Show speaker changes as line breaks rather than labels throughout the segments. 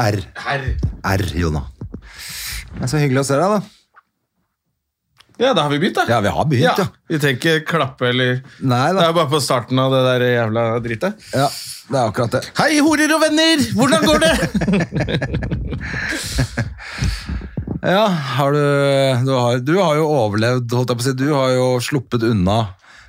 R. R, Jonna. Det er så hyggelig å se deg, da.
Ja, da har vi begynt, da.
Ja, vi har begynt, ja.
Vi trenger ikke klappe eller
Nei
Det
da.
er bare på starten av det der jævla dritet.
Ja, det er akkurat det.
Hei, horer og venner! Hvordan går det?
Ja, har du, du, har, du har jo overlevd, holdt jeg på å si. Du har jo sluppet unna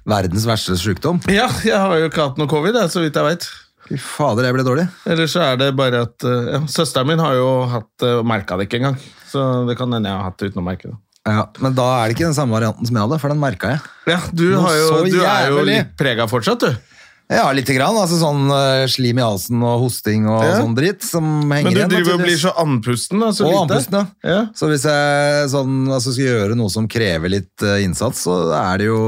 verdens verste sykdom.
ja, jeg har jo ikke hatt noe covid, jeg, så vidt jeg veit.
Fy fader, jeg ble dårlig.
Ellers så er det bare at eh, ja, Søsteren min har jo hatt eh, og merka det ikke engang. Så det kan hende jeg har hatt det uten å merke det.
Ja, Men da er det ikke den samme varianten som jeg hadde, for den merka jeg.
Ja, Du,
Nå
har jo,
så
du er jo
jævlig.
litt prega fortsatt, du.
Ja, lite grann. altså Sånn eh, slim i halsen og hosting og
Ja.
sånn dritt som henger
Men du
igjen,
driver og
naturligvis.
blir så andpusten. Da, så
Og
lite.
andpusten, ja.
ja.
Så hvis jeg sånn, altså, skal gjøre noe som krever litt eh, innsats, så er det jo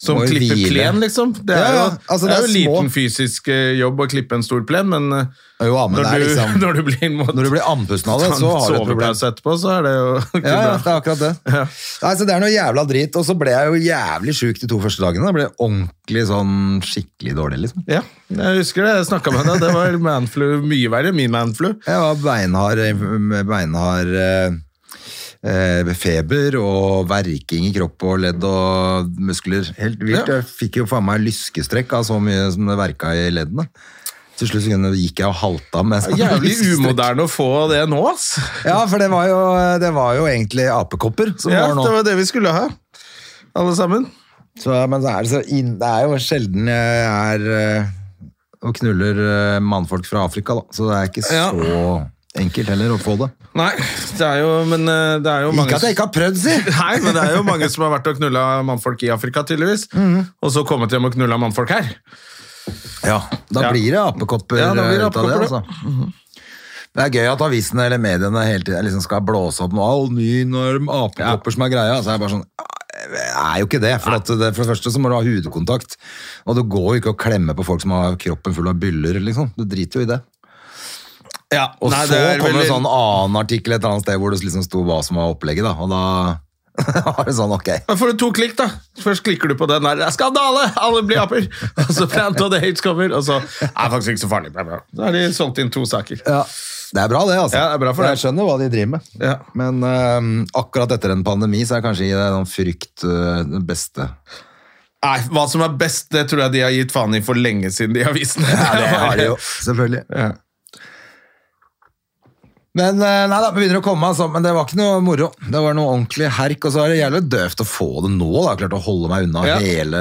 Som
Må jo
klipper
hvile.
plen, liksom. Det
Ja,
er jo,
ja, altså,
det
det
er
er
jo
små.
liten fysisk eh, jobb å klippe en stor plen, men, eh,
Jo, ja, men
når,
det er
du,
liksom
når du blir mot,
Når du blir andpusten av det, så har du et problem.
sovepause etterpå, så er det jo ikke
Ja, ja, det
bra.
er akkurat det. Nei, så Det er noe jævla drit. Og så ble jeg jo jævlig sjuk de to første dagene. Jeg ble ordentlig sånn skikkelig dårlig, liksom.
Ja, jeg husker det. Jeg snakka med deg. Det var manflu mye verre. Min manflu.
Jeg var beinhard, eh, med beinhard eh, eh, feber og verking i kropp og ledd og muskler. Helt vilt.
Ja.
Jeg fikk jo faen meg lyskestrekk av så mye som det verka i leddene. Til slutt så kunne- gikk jeg og halta med sånn
Jævlig
lyskestrekk.
umoderne å få det nå, ass.
Ja, for det var jo, det var jo egentlig apekopper som
Ja,
var nå.
det var det vi skulle ha, alle sammen.
Så, men så er det, så inn, det er jo sjelden jeg er eh, og knuller eh, mannfolk fra Afrika, da. Så det er ikke
Ja.
så enkelt heller å få det.
Nei, det er jo Men eh, det er jo mange
Ikke at jeg ikke har prøvd, si!
Nei, men det er jo mange som har vært og knulla mannfolk i Afrika, tydeligvis.
Mhm.
Og så kommet hjem og knulla mannfolk her.
Ja, da
Ja.
blir det apekopper
Ja, da blir det
eh, ut av det,
apekopper, da.
altså. Det er gøy at avisene eller mediene hele tiden liksom skal blåse opp noe. All ny norm, apekopper som er greia. Så er jeg bare sånn det er jo ikke det. For, at det. for det første så må du ha hudkontakt. Og det går jo ikke å klemme på folk som har kroppen full av byller, liksom. Du driter jo i det.
Ja,
Og
nei,
så
det er
kom det
veldig-
en sånn annen artikkel et annet sted hvor det liksom sto hva som var opplegget, da. Og da var det sånn, ok.
Da får du to klikk, da. Først klikker du på den der. Skandale! Alle blir aper! Og så Plant of the Hates kommer, og så er det faktisk ikke så farlig. Bla, bla. Da har de solgt inn to saker.
Det er bra, det, altså.
Ja, det er bra for
jeg skjønner hva de driver med.
Ja.
Men øhm, akkurat etter en pandemi så er kanskje ikke det noen frykt øh, det beste.
Nei, Hva som er best, det tror jeg de har gitt faen i for lenge siden, de avisene.
Ja, det har de jo, selvfølgelig.
Ja.
Men øh, nei da, vi begynner å komme, altså. Men det var ikke noe moro. Det var noe ordentlig herk, og så er det jævlig døvt å få det nå, da. Klart å holde meg unna
Ja.
hele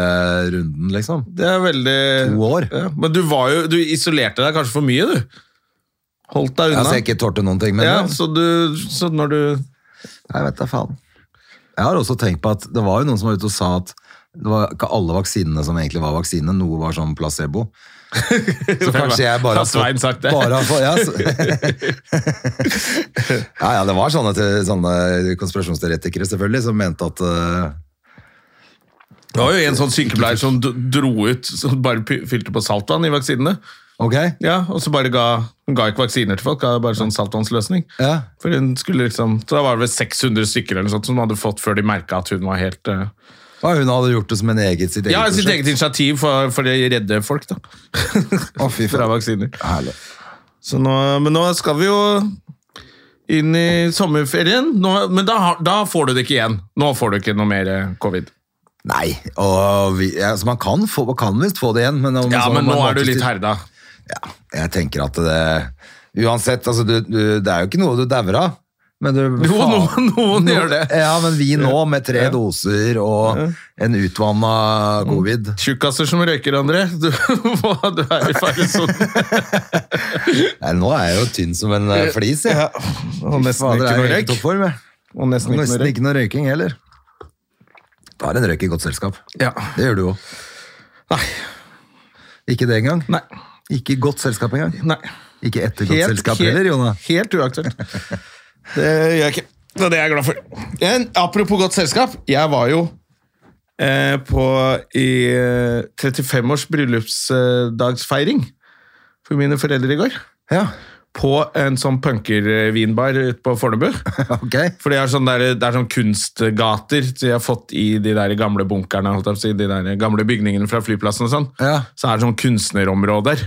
runden, liksom.
Det er veldig
To år.
Ja, men du var jo Du isolerte deg kanskje for mye, du. Holdt deg
Altså, Jeg
unna.
skal ikke tålte noen ting, men
ja,
ja.
så, du, så når du
Jeg vet da faen. Jeg har også tenkt på at det var jo noen som var ute og sa at det var ikke alle vaksinene som egentlig var vaksine, noe var sånn placebo. Så kanskje jeg bare
Har Svein sagt det?
Bare har fått, ja, så- ja, ja, det var sånne, te- sånne konspirasjonsteoretikere selvfølgelig som mente at eh,
Det var jo en sånn sykepleier som d- dro ut Som bare py- fylte på saltvann i vaksinene.
Ok,
Ja, Og så bare ga Hun ga ikke vaksiner til folk, ga bare sånn saltvannsløsning.
ja.
For hun skulle liksom, så Da var det vel 600 stykker eller noe sånt som hun hadde fått før de merka at hun var helt eh,
Og hun hadde gjort det som en eget sitt eget
Ja, sitt
prosjekt.
eget initiativ for, for å redde folk, da.
Å, fy
Fra
faen.
vaksiner.
Herlig.
Så nå, men nå skal vi jo inn i sommerferien. Nå, men da, har- da får du det ikke igjen. Nå får du ikke noe mer eh, covid.
Nei, og vi, ja, så man kan, få, man kan visst få det igjen. Men, om-
Ja,
så
men
må
nå
man
er du
faktisk-
litt herda.
Ja, jeg tenker at det Uansett, altså, du, du, det er jo ikke noe du dauer av. Men du,
Jo, noen, noen
Nå-
gjør det.
Ja, men vi nå med tre doser og en utvanna covid.
Tjukkaser som røyker, André. Du, hva- du er i faresonen.
Nei, nå er jeg jo tynn som en eh, flis, jeg.
Og nesten
Fader,
ikke
jeg er
noe
jo helt
røyk.
toppform, jeg.
Og nesten
Og
ikke noe
nesten
røyk.
ikke noe røyking heller. Da er en røyk i godt selskap.
Ja.
Det gjør du òg.
Nei.
Ikke det engang.
Nei.
Ikke i godt selskap engang.
Nei.
Ikke etter godt selskap heller, Jona.
helt uaktuelt. Det gjør jeg ikke. Og det er jeg glad for. Men, apropos godt selskap. Jeg var jo eh, på i eh, 35 års bryllupsdagsfeiring for mine foreldre i går.
Ja,
På en sånn punkervinbar ute på Fornebu.
ok.
For det er sånn, der, det er sånn kunstgater som jeg har fått i de der gamle bunkerne, holdt jeg på å si, de der gamle bygningene fra flyplassen og sånn.
Ja.
Så er det sånn kunstnerområder.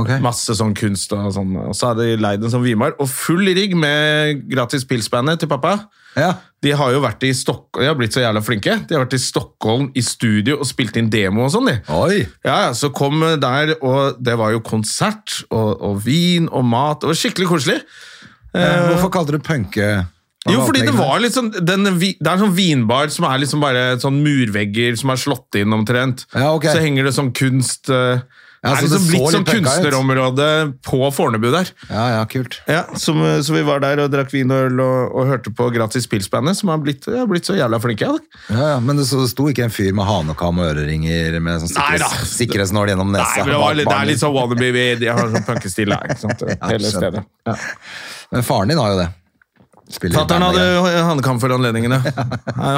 ok.
Masse sånn kunst og sånn. Og så hadde de leid en sånn vinbar, og full rigg med gratis pilsbandet til pappa.
Ja.
De har jo vært i Stockholm, de har blitt så jævla flinke. De har vært i Stockholm i studio og spilt inn demo og sånn, de.
Oi!
Ja, ja, så kom der, og det var jo konsert, og, og vin, og mat, og skikkelig koselig.
Eh, Hvorfor kalte du punke?
Jo, fordi det var litt sånn den, vi- Det er en sånn vinbar som er liksom bare sånn murvegger som er slått inn omtrent.
Ja, ok.
Så henger det sånn kunst eh,
Ja, så
Det er
det
liksom
så
blitt
litt
sånn
punka ut.
kunstnerområde på Fornebu der.
Ja, ja, kult.
Ja, som, eh, Så vi var der og drakk vin og øl og, og hørte på Gratis Pilsbandet, som har blitt, har blitt så jævla flinke. Ja.
Ja, ja, men det, så det sto ikke en fyr med hanekam og øreringer med sånn
Nei da.
sikkerhets, sikkerhetsnål gjennom nesa?
Nei, men det, var litt, det er litt sånn wannabe, vi- de har sånn punkestil der. ikke sant? Hele
skjønner.
stedet.
Men faren din har jo det. Spiller i
Fattern
bandet igjen.
hadde hanekam for anledningene.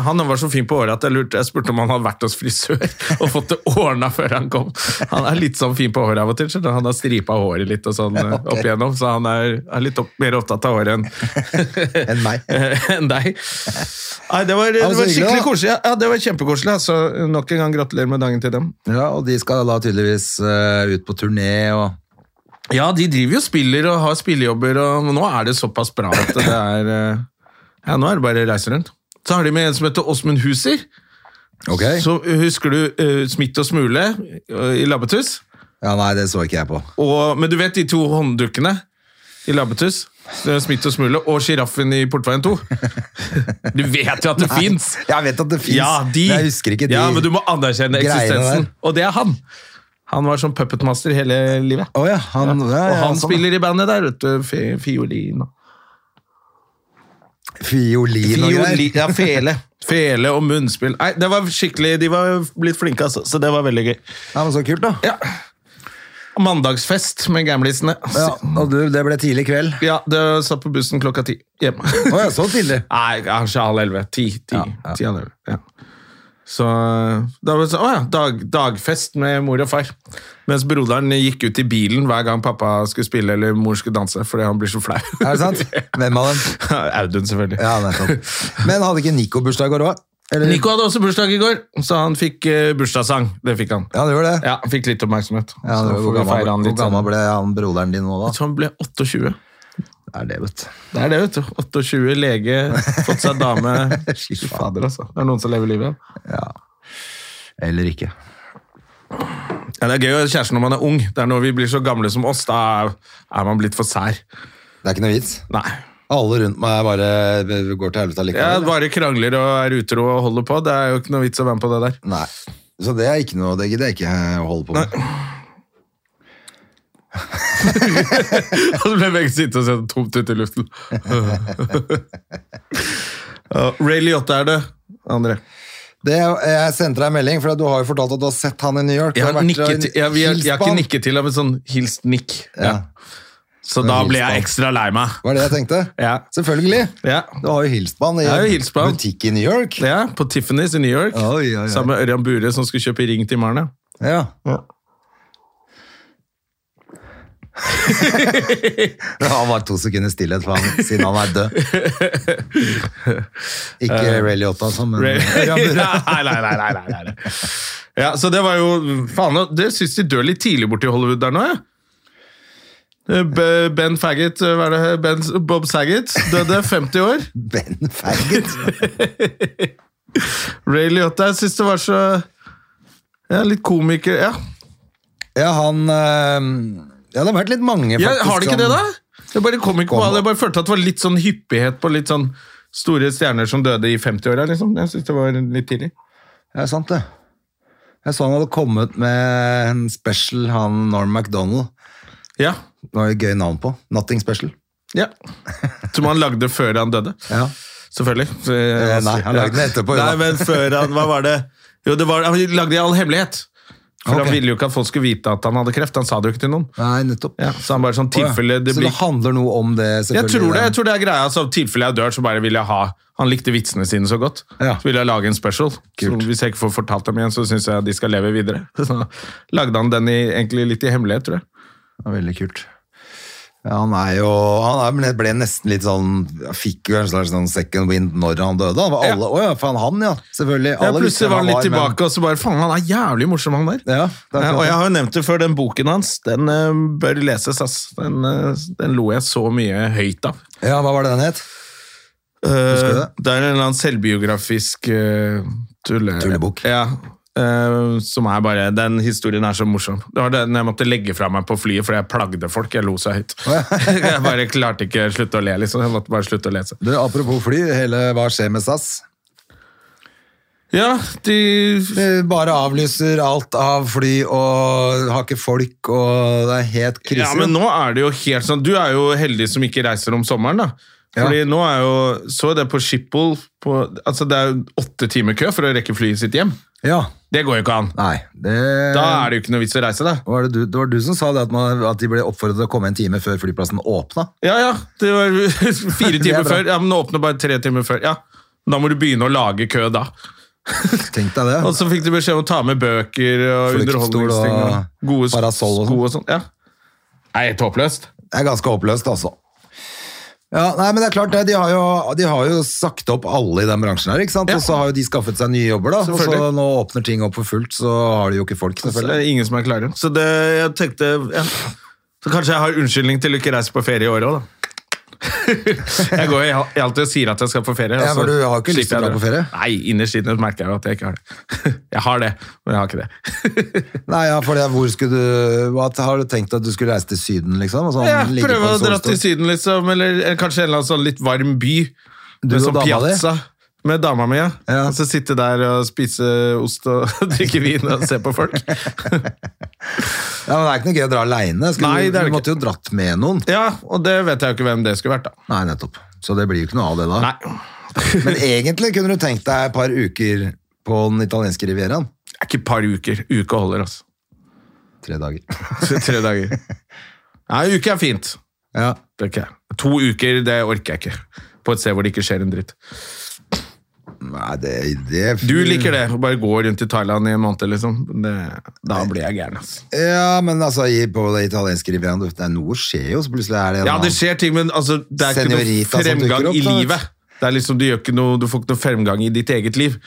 Han var så fin på året at jeg lurte Jeg spurte om han hadde vært hos frisør og fått det ordna før han kom. Han er litt sånn fin på håret av og til, skjønner du. han har stripa håret litt og sånn eh, opp igjennom, så han er, er litt opp, mer opptatt av håret enn
Enn meg.
enn deg. Nei, det var, det
Ja, så
var
hyggelig,
skikkelig
da.
koselig. Ja, det var kjempekoselig. Altså, nok en gang gratulerer med dagen til dem.
Ja, og de skal da tydeligvis eh, ut på turné og
Ja, de driver jo og spiller og har spillejobber, og nå er det såpass bra at det er eh, Ja, nå er det bare å reise rundt. Så har de med en som heter Åsmund Huser.
Ok.
Så husker du eh, Smitt og Smule eh, i Labbetuss?
Ja, nei, det så ikke jeg på.
Og, men du vet de to hånddukkene i Labbetuss? Eh, Smitt og Smule og Sjiraffen i Portveien 2? Du vet jo at det fins!
Jeg vet at det fins,
Ja, de,
men jeg husker ikke de.
Ja, men du må anerkjenne
greiene
eksistensen.
der.
Og det er han! Han var sånn puppetmaster hele livet.
Å ja, han, ja. Ja,
og han
sånn.
spiller i bandet der, vet du. Fi- Fiolin og
Fiolin og greier.
Fioli- Ja, fele. Fele og munnspill. Nei, det var skikkelig, De var blitt flinke, altså. Så det var veldig gøy.
Ja, men så kult, da.
Ja. Mandagsfest med gamlisene.
Ja, og du, det ble tidlig kveld.
Ja, det satt på bussen klokka ti hjem.
Å ja, så tidlig.
Nei, kanskje halv elleve. Ti. ti,
Ja, ja.
ti halv elleve. Ja. Så da var det sånn, å ja, dag, dagfest med mor og far. Mens broderen gikk ut i bilen hver gang pappa skulle spille eller mor skulle danse, fordi han blir så flau.
Er det sant? Hvem av dem?
Audun, selvfølgelig.
Ja, nettopp. Men hadde ikke Nico bursdag i går òg?
Nico hadde også bursdag i går, så han fikk eh, bursdagssang. Det fikk han.
Ja, det gjorde det.
Ja, han fikk litt oppmerksomhet.
Ja, det var,
så får
hvor
vi
gammel,
feire han
hvor
litt.
gammel ble han broderen din nå, da?
Jeg tror han ble 28.
Det er det, vet du.
Det er det, vet du. 28, lege, fått seg dame.
Fy
Fy fader, altså. Det er noen som lever livet.
Eller ikke.
Ja, det er gøy å være kjæreste når man er ung. Det er når vi blir så gamle som oss, da er- er man blitt for sær.
Det er ikke noe vits.
Nei.
Alle rundt meg bare går til helvete
Jeg
allikevel.
bare krangler og er utro og holder på. Det er jo ikke noe vits å være med på det der.
Nei. Så det er ikke noe Det gidder jeg ikke å holde på med.
Og så ble begge sittende og se tomt ut i luften. Ja, Ray Liotta er det, André.
Det, jeg sendte deg en melding, for du har jo fortalt at du har sett han i New York. Du
Jeg har,
vært og
nikket, til- jeg, vi har, jeg har
hilst på
ikke
han.
nikket til ham, men sånn hilst nikk. Ja. Så
Men
da
hils
ble
på han.
jeg ekstra lei meg.
Var det jeg tenkte?
Ja.
Selvfølgelig.
Ja.
Du har jo hilst på han i
Jeg har jo hilst på han.
butikk i New York.
Ja, på Tiffany's i New York.
Oi, oi, oi.
Sammen med Ørjan Bure, som skulle kjøpe ring til Marne.
Ja. Det har vært to sekunder stillhet for han siden han er død. Ikke Ray Liotta, altså, men
Eh, Ray-
Ørjan Burre.
nei, nei, nei, nei, nei, nei. Ja, så det var jo Faen, det syns de dør litt tidlig borti Hollywood der nå, ja. Eh, B- Ben Faggot, hva er det? Ben, Bob Saget døde 50 år.
Ben Faggot.
Ray Liotta, jeg syns det var så ja, Litt komiker Ja,
Ja, han eh, Ja, det har vært litt mange, faktisk.
ja Har det ikke det,
som-
da? Jeg bare kom ikke på det. Jeg bare følte at det var litt sånn hyppighet på litt sånn store stjerner som døde i 50-åra, liksom. Jeg syns det var litt tidlig.
Ja, sant det. Jeg så han hadde kommet med en special, han Norm MacDonald.
Ja.
Det var jo et gøy navn på. Nothing special.
ja. Som han lagde før han døde.
Ja.
Selvfølgelig. Eh,
nei, han lagde den etterpå, jo da.
Nei, men før han, hva var det? Jo, det var, han lagde i all hemmelighet. For
Ok.
Han ville jo ikke at folk skulle vite at han hadde kreft. Han sa det jo ikke til noen.
Nei, nettopp.
Ja, så han bare sånn
Å ja.
tilfelle det
Så
blir
det handler noe om det,
jeg
selvfølgelig.
tror, det, jeg tror det er greia. Altså, tilfelle jeg dør, så bare vil jeg ha Han likte vitsene sine så godt.
Ja.
Så ville jeg lage en special. Så hvis jeg ikke får fortalt dem igjen, så syns jeg de skal leve videre. Så lagde han den i, egentlig litt i hemmelighet, tror jeg.
Det er veldig kult. Ja, han er jo Han er, men jeg ble nesten litt sånn jeg Fikk jo en slags sånn second wind når han døde. Han var
Ja.
alle, Å ja, faen, han, ja. Selvfølgelig.
Ja,
Alle visste
plutselig var han litt
hvem
tilbake,
men-
og så bare Faen, han er jævlig morsom, han der.
Ja, det er
Eh,
akkurat
og jeg
det.
har jo nevnt det før, den boken hans, den eh, bør leses, ass. Den, eh, den lo jeg så mye høyt av.
ja, hva var det den het?
Eh,
du det?
det er en eller annen selvbiografisk eh, tulle...
Tullebok.
Ja, eh, som er bare, Den historien er så morsom. Det var den jeg måtte legge fra meg på flyet fordi jeg plagde folk. Jeg lo så høyt. jeg bare klarte ikke å slutte å le. liksom. Jeg måtte bare slutte å lese.
Du, apropos fly, hele Hva skjer med SAS?
Ja, de...
Eh, Bare avlyser alt av fly og har ikke folk og det er helt krise.
Ja, men nå er det jo helt sånn Du er jo heldig som ikke reiser om sommeren, da.
Ja.
Fordi nå er jo Så det på Schiphol på, Altså, det er jo åtte timer kø for å rekke flyet sitt hjem.
Ja,
Det går jo ikke an.
nei. Det,
Da er det jo ikke noe vits å reise, da.
var det, du, det var du som sa det at, man, at de ble oppfordret til å komme en time før flyplassen åpna.
Ja, ja. Det var fire
Det er
timer
bra.
før. Ja, men nå åpner bare tre timer før. Ja. Da må du begynne å lage kø da.
Tenk deg det.
Og så fikk de beskjed om å ta med bøker og
Flyktstol
underholdningsting. Og
og
gode s-
parasoll og
sko og sånn. Ja. Nei, helt håpløst.
Det er ganske oppløst, altså. Ja, nei, men det er klart det, de har, jo, de har jo sagt opp alle i den bransjen her, ikke sant?
Ja.
Og så har jo de skaffet seg nye jobber da, og så
Selvfølgelig.
nå åpner ting opp for fullt, så har de jo ikke folk
Så det
selvfølgelig.
er ingen som er klare. Så det, jeg tenkte ja. Så kanskje jeg har unnskyldning til å ikke reise på ferie i år òg, da. jeg går jo alltid og sier at jeg skal på ferie. og
Ja,
så
for du har ikke lyst til å
slipper jeg
dra på
det.
ferie?
Nei, innerst inne merker jeg jo at jeg ikke har det. jeg har det, men jeg har ikke det.
Nei, ja, for det, er hvor skulle du, hva har du tenkt at du skulle reise til syden liksom? Og sånn,
Ja,
ligge på
prøve å
en
dra
solstol?
til Syden, liksom. Eller, eller kanskje en eller annen sånn litt varm by.
og
med sånn
dama di?
piazza. Med dama mi, ja.
Ja.
Og så sitte der og spise ost og drikke vin og se på folk.
Ja, men det er ikke noe gøy å dra alene. Skulle,
Nei, det er det
du måtte jo dratt med noen.
Ja, og det vet jeg jo ikke hvem det skulle vært, da.
Nei, nettopp. Så det blir jo ikke noe av det da.
Nei.
Men egentlig kunne du tenkt deg et par uker på den italienske rivieraen.
Det er ikke et par uker. Uke holder, altså.
Tre dager.
Tre dager. Nei, en uke er fint.
Ja.
Det orker jeg. To uker, det orker jeg ikke. På et sted hvor det ikke skjer en dritt.
Nei, det, det...
Du liker det, å bare gå rundt i Thailand i en måned, liksom. Det, da blir jeg gæren, altså.
Ja, men altså, i- på det italienske rivieraen, det er noe skjer jo, så plutselig er det en
Ja, det
annen-
skjer ting, men altså, det er
Senorita
ikke
som
noe fremgang
dukker opp,
i
da, vet du.
livet. Det er liksom, du, gjør ikke noe, du får ikke noe fremgang i ditt eget liv.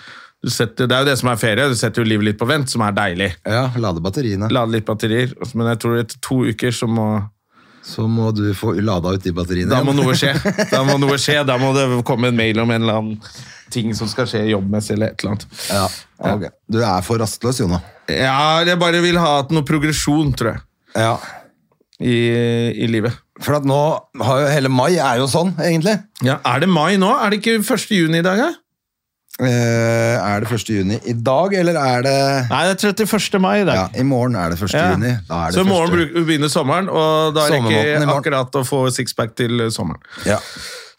Du setter, det er jo det som er ferie, du setter jo livet litt på vent, som er deilig.
Ja, lade batteriene.
Lade litt batterier, men jeg tror etter to uker så må,
Så må du få lada ut de batteriene.
da
igjen.
må noe skje. Da må noe skje, da må det komme en mail om en eller annen ting som skal skje jobbmessig eller et eller annet.
Ja, ok. Du er for rastløs, Jona.
Ja, jeg bare vil ha at noe progresjon, tror jeg,
Ja.
i, i livet.
For at nå har jo hele mai er jo sånn, egentlig.
Ja, er det mai nå? Er det ikke 1. juni i dag, da?
Eh, er det 1. juni i dag, eller er det
Nei, det er 31. mai i dag.
Ja, i morgen er det 1.
Ja.
juni. Da er det
så i morgen
første-
bruk- begynner sommeren, og da rekker
Sommermåneden i
jeg
morgen.
akkurat å få sixpack til eh, sommeren.
ja.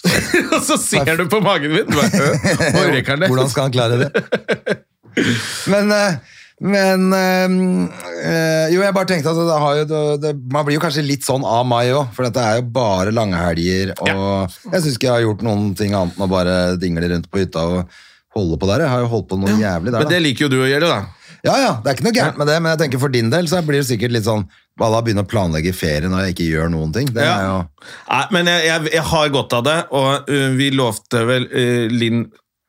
og så ser du på magen min! Du bare, øh, og rekker den det.
Hvordan skal han klare det? Men, eh, men eh, eh, Jo, jeg bare tenkte at det har jo, det, det, man blir jo kanskje litt sånn av meg òg, for dette er jo bare lange helger. Og jeg syns ikke jeg har gjort noen ting annet enn å bare dingle rundt på hytta og holde på der. Jeg har jo holdt på noe jævlig der.
Men
da.
det liker jo du å gjøre, da.
Ja, ja, det er ikke noe gærent med det, men jeg tenker for din del så blir det sikkert litt sånn Balla begynner å planlegge ferie når jeg ikke gjør noen ting. Det er jo
Ja. Nei, men jeg, jeg, jeg har godt av det, og øh, vi lovte vel øh, Linn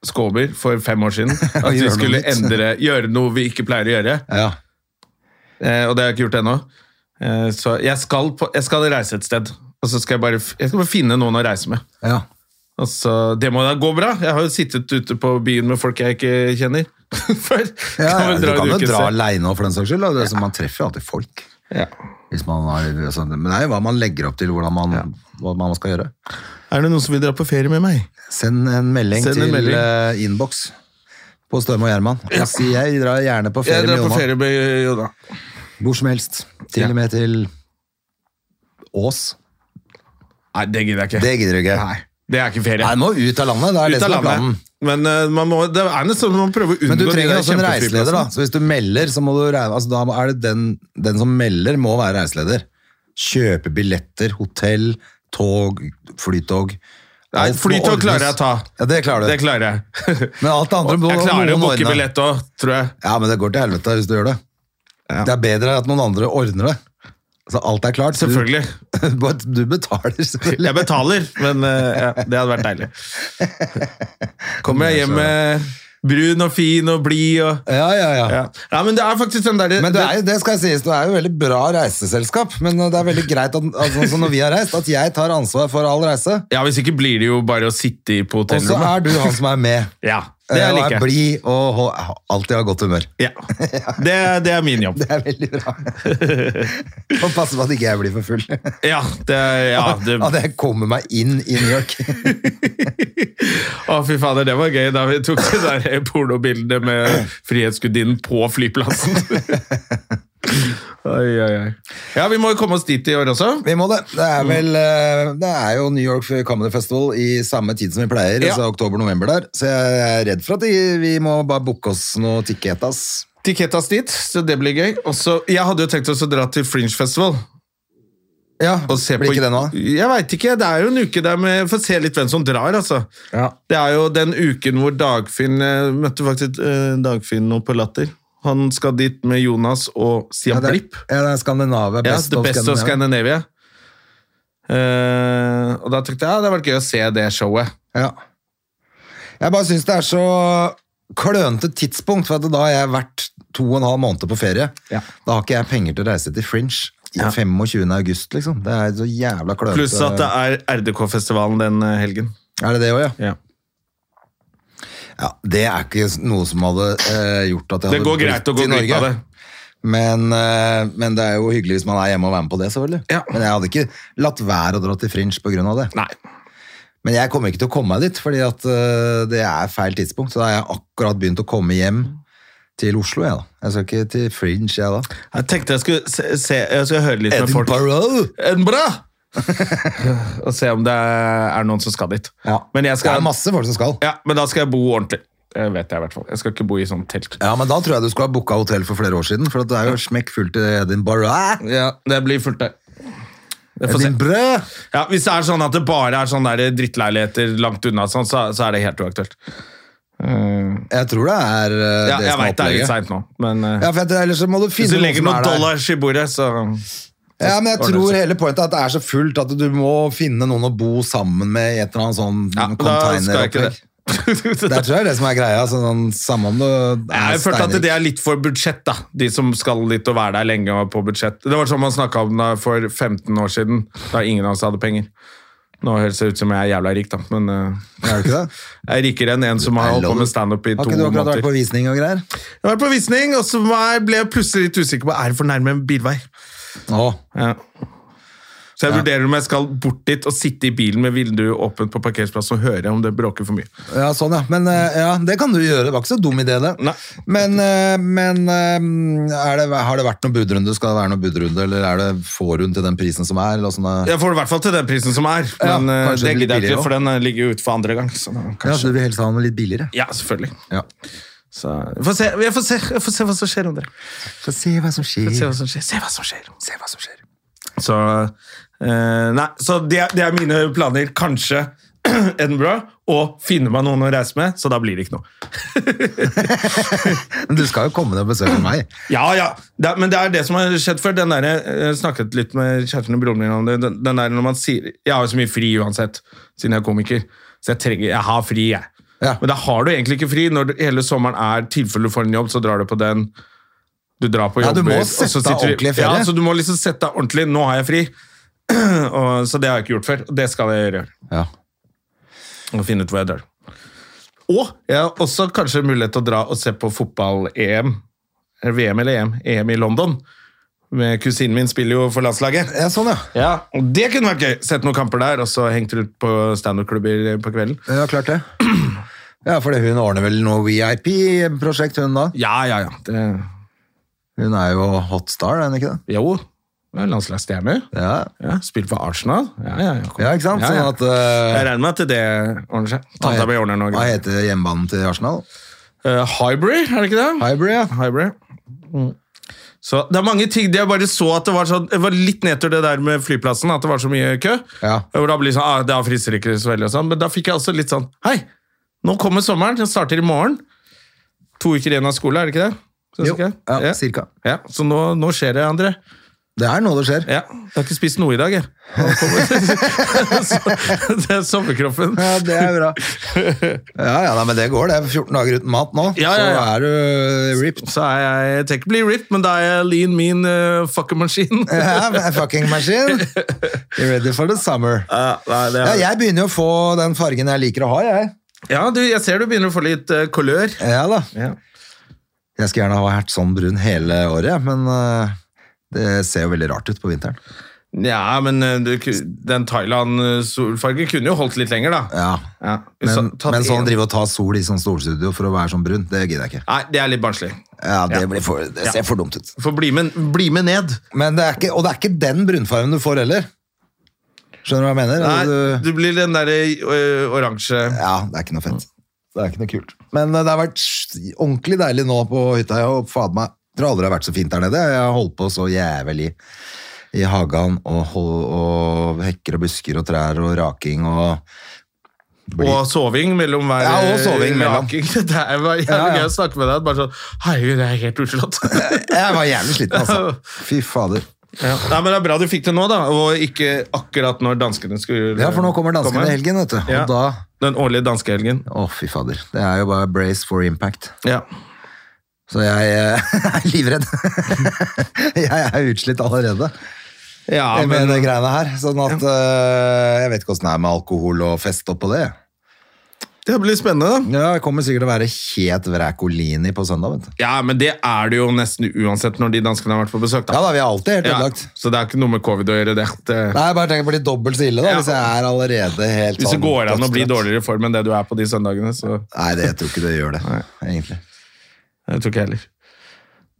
Skåber for fem år siden at
Å gjøre
vi
noe
skulle
nytt.
endre, gjøre noe vi ikke pleier å gjøre,
Ja.
eh, og det har jeg ikke gjort ennå. Eh, så jeg skal, på, jeg skal reise et sted, og så skal jeg bare, f- jeg skal bare finne noen å reise med.
ja.
Altså, det må da gå bra. Jeg har jo sittet ute på byen med folk jeg ikke kjenner. Før.
ja, ja,
vel
du
dra en
kan jo
uke
dra
selv.
aleine òg, for den saks skyld. da. Det er som man treffer jo alltid folk.
Ja.
Hvis man har, altså, men det er jo hva man legger opp til, hvordan man, hva man skal gjøre.
Er det noen som vil dra på ferie med meg?
Send en melding
Send en
til
melding.
eh, innboks på Støm og Gjerman. Jeg sier jeg drar gjerne på ferie
Jeg drar
med
på
Jonna.
ferie med Jonna.
Hvor som helst. Til
Ja.
og med til Ås.
Nei, det gidder jeg ikke.
Det gidder du ikke.
Nei, det er ikke ferie.
Nei, nå ut av landet. Det er
Ut
det
av
som er planen.
landet. Men eh, man må, det er nesten man prøver å unngå
Men du
de
trenger
der
også en reiseleder, da.
kjempeflyplassene.
Så hvis du melder, så må du regne altså, Da er det den, den som melder, må være reiseleder. Kjøpe billetter, hotell, tog, flytog.
Nei,
Alt må
flytog
ordnes.
klarer jeg å ta.
Ja, det klarer du.
Det klarer jeg.
Men alt det andre må
jeg klarer å
noen
booke
ordne.
billett òg, tror jeg.
Ja, men det går til helvete hvis du gjør det.
Ja.
Det er bedre at noen andre ordner det. Så alt er klart.
Selvfølgelig.
Du, bare at du betaler, selvfølgelig.
Jeg betaler, men eh, ja, det hadde vært deilig. Kommer jeg hjem med brun og fin og blid og
Ja, ja, ja.
ja. ja, men det er faktisk den derre
Men det, er, jo- det skal sies, det er jo veldig bra reiseselskap, men eh, det er veldig greit at, altså, sånn når vi har reist, at jeg tar ansvar for all reise,
Ja, hvis ikke blir det jo bare å sitte i- på
og så
hotellrommet.
er du han som er med.
Ja, det
Eh,
er
og
like.
er blid og hold- alltid har godt humør.
Ja. Det, det er min jobb.
Det er veldig bra. og passe på at ikke jeg blir for full.
Ja, det, ja, det,
At jeg kommer meg inn i New York.
Å, fy fader, det var gøy da vi tok det der pornobildet med Frihetsgudinnen på flyplassen. Oi, oi, oi. Ja, vi må jo komme oss dit i år også.
Vi må det. Det
Mm.
er vel eh, Det er jo New York Comedy Festival i samme tid som vi pleier,
Ja.
altså oktober-november der, så jeg er redd for at de- vi må bare booke oss noe tikketas.
Tikketas dit, så det blir gøy. Også, jeg hadde jo tenkt oss å dra til Fringe Festival.
Ja,
Og se
blir
på,
ikke det nå?
Jeg veit ikke. Det er jo en uke der med Få se litt hvem som drar, altså.
Ja.
Det er jo den uken hvor Dagfinn Jeg møtte faktisk eh, Dagfinn nå på Latter. Han skal dit med Jonas og Stian
det,
Blipp.
ja, det er Skandinavia.
Ja,
Best
The
of
Best of
Scandinavia.
Scandinavia. Eh, og da tenkte jeg ja, det hadde vært gøy å se det showet.
Ja. Jeg bare syns det er så klønete tidspunkt, for at da har jeg vært to og en halv måned på ferie.
Ja.
Da har ikke jeg penger til å reise til Fringe. I 25. august, liksom. Det er så jævla klønete.
Pluss at det er RDK-festivalen den eh, helgen.
Er det det òg, ja?
Ja.
Ja, Det er ikke noe som hadde eh, gjort at jeg
Det
hadde
går greit å
blitt
gå
i Norge.
glipp av det.
Men, eh, men det er jo hyggelig hvis man er hjemme og være med på det, selvfølgelig.
Ja.
Men jeg hadde ikke latt være å dra til Fringe på grunn av det.
Nei.
Men jeg kommer ikke til å komme meg dit, fordi at eh, det er feil tidspunkt. Så da har jeg akkurat begynt å komme hjem til Oslo, jeg da. Jeg skal ikke til Fringe, jeg da.
Jeg tenkte jeg skulle, se, se, jeg skulle høre litt med folk. Edinburgh! og se om det er noen som skal dit.
Ja.
Men, jeg
Det
skal,
er masse folk som skal.
ja, men da skal jeg bo ordentlig. Det vet jeg i hvert fall. Jeg skal ikke bo i sånn telt.
Ja, men da tror jeg du skulle ha booka hotell for flere år siden, for at det er jo smekk fullt i Edinburgh.
Ja, det blir fullt der. Vi får se.
Edinburgh!
Ja, hvis det er sånn at det bare er sånne der drittleiligheter langt unna, sånn, så, så er det helt uaktuelt.
Jeg tror det er eh,
Ja,
det
jeg
som er
veit det er litt
opplegget.
seint nå, men eh,
Ja, for jeg- ellers så må du
hvis
finne
du legger
noen som
noen
er der.
dollars i bordet, så
Ja, men jeg
Ordner
tror
seg.
hele pointet er at det er så fullt at du må finne noen å bo sammen med i et eller annet sånn
ja, Da skal jeg ikke
containeropplegg.
det.
Det tror jeg er det som er greia. Sånn, sånn, samme om du
Jeg
er
har følt at
steinrik.
det er litt for budsjett, da. De som skal dit og være der lenge og på budsjett. Det var sånn man snakka om da for 15 år siden, da ingen av oss hadde penger. Nå høres det ut som jeg er jævla rik, da, men eh,
Er det ikke det?
jeg er rikere enn en som har holdt på med standup i
Har
to
ikke du akkurat
måneder.
vært på visning og greier?
Jeg var på visning, og så var jeg- ble jeg plutselig litt usikker på er det for nærme en bilvei.
Å,
Ja. Så jeg vurderer om jeg skal bort dit og sitte i bilen med vinduet åpent på parkeringsplassen og høre om det bråker for mye.
ja, sånn ja. Men eh, ja, det kan du gjøre. Det var ikke så dum idé, det.
Nei.
Men, eh, men eh, er det, har det vært noen budrunde? Skal det være noen budrunde, eller er det får hun til den prisen som er? Eller sånn, eh?
Jeg får det i hvert fall til den prisen som er,
Ja,
men eh,
kanskje det
det
blir
gidder jeg
billigere
ikke,
også.
for den eh, ligger jo ute for andre gang. Så da,
ja, så
kanskje.
du vil helst ha den litt billigere?
Ja, selvfølgelig.
Ja.
Så jeg får se, jeg får se, jeg får se hva som skjer, André.
Så se hva som skjer.
Se hva som skjer. Se hva som skjer. Se hva som skjer. Så, eh, nei, så det, er- det er mine planer. Kanskje Edinburgh. Og finne meg noen å reise med, så da blir det ikke noe.
Men du skal jo komme ned og besøke meg.
Ja, ja. Det, er- men det er det som har skjedd før. Den der, eh, jeg snakket litt med kjæresten og broren min om det. Den, den der når man sier, Jeg har jo så mye fri uansett, siden jeg er komiker. Så jeg, trenger, jeg har fri, jeg.
Ja.
Men da har du egentlig ikke fri. Når du- hele sommeren er tilfelle du får en jobb, så drar du på den. Du drar på
Ja,
jobber.
du må
og så
sette
sitter
av
du-
ordentlig ferie.
Ja, så du må liksom sette deg ordentlig. Nå har jeg fri. og, så det har jeg ikke gjort før. Og det skal jeg gjøre.
Ja.
Og finne ut hvor jeg drar. Og jeg har også kanskje mulighet til å dra og se på fotball-EM. Eller VM eller EM. EM i London. Med kusinen min spiller jo for landslaget.
ja, sånn ja.
Ja, og Det kunne vært gøy! Sett noen kamper der, og så hengt rundt på standup-klubber på kvelden.
Ja, klart det. Ja, for hun ordner vel noe VIP-prosjekt, hun da?
Ja, ja, ja. Det,
Hun er jo hotstar, er hun ikke det?
jo. Det er Landslagsstjerne.
Ja,
Ja, spilt for Arsenal. Ja, ja, ja, kom.
ja ikke sant?
Ja,
Sånn
ja.
at eh,
Jeg regner med at det ordner seg. Tanta mi ordner noe.
Hva heter hjemmebanen til Arsenal?
Eh, Highbury, er det ikke det?
Highbury, ja.
Highbury.
Mm.
Så det er mange ting det Jeg bare så at det var, sånn, det var litt nedtur det der med flyplassen, at det var så mye kø.
Ja.
Hvor da blir det sånn, ah, det frister ikke så veldig og sånn. Men da fikk jeg også litt sånn Hei, nå kommer sommeren. Den starter i morgen. To uker igjen av skole, er det ikke det? Synes
Jo,
ikke jeg?
ja,
ja.
cirka.
Ja, så nå, nå skjer det, André.
Det er nå det skjer.
Ja, Jeg har ikke spist noe i dag, jeg. Nå kommer- Så- det er sommerkroppen.
Ja, det er bra. Ja, ja, nei, men det går, det. 14 dager uten mat nå,
Ja, ja, ja.
så er du ripped.
Så er jeg, jeg tenker å bli ripped, men da er jeg lean, mean uh, fucker-maskin.
Ja, a fucking machine. You're ready for the summer. Ja, jeg begynner jo å få den fargen jeg liker å ha, jeg.
Ja, du, jeg ser du begynner å få litt eh, kolør.
Ja da.
Ja.
Jeg skulle gjerne ha vært sånn brun hele året, men eh, det ser jo veldig rart ut på vinteren.
men eh, du, ku- den Thailand-solfargen kunne jo holdt litt lenger, da.
Ja,
Ja.
Men,
Så- tatt
men sånn
en-
drive og ta sol i sånn solstudio for å være sånn brun, det gidder jeg ikke.
Nei, det er litt barnslig.
Ja, Det, blir for, det ser for dumt ut.
Få bli, med- bli med ned.
Men det er ikke, og det er ikke den brunfargen du får heller. Skjønner du hva jeg mener?
Nei,
Du-
du blir den derre eh, oransje
Ja, det er ikke noe fett. Mm. Det er ikke noe kult. Men eh, det har vært s- ordentlig deilig nå på hytta. Jeg og fader meg, tror aldri det har vært så fint der nede. Jeg har holdt på så jævlig i hagen og, hol- og hekker og busker og trær og raking og
og soving mellom hver
Ja, og soving
eh,
mellom.
raking. Det er bare jævlig
Ja, ja.
gøy å snakke med deg. Bare sånn Herregud, jeg er helt utslått.
Jeg var jævlig sliten, altså. Fy fader.
Ja. Nei, men Det er bra du fikk det nå, da, og ikke akkurat når danskene skulle
Ja, for nå kommer danskene i helgen, vet du.
Ja.
Og da
Den årlige danskehelgen.
Å, fy fader. Det er jo bare brace for impact.
Ja.
Så jeg eh, er livredd. jeg er utslitt allerede
Ja,
med
men,
de greiene her. Sånn at eh, Jeg vet ikke åssen det er med alkohol og fest oppå det.
det blir spennende, da.
Ja, Jeg kommer sikkert til å være helt vrækolini på søndag, vet du.
Ja, men det er det jo nesten uansett når de danskene har vært på besøk.
Ja
da.
da, vi er alltid helt
Ja,
ødelagt.
Så det er ikke noe med covid å gjøre, det. det
Nei, jeg bare tenker på det dobbelt så ille da,
Ja.
hvis jeg er allerede helt
hvis det
sånn
går an å bli
dødstrøtt.
dårligere i form enn det du er på de søndagene, så
Nei, det, jeg tror ikke det gjør det, egentlig.
Jeg tror ikke jeg heller.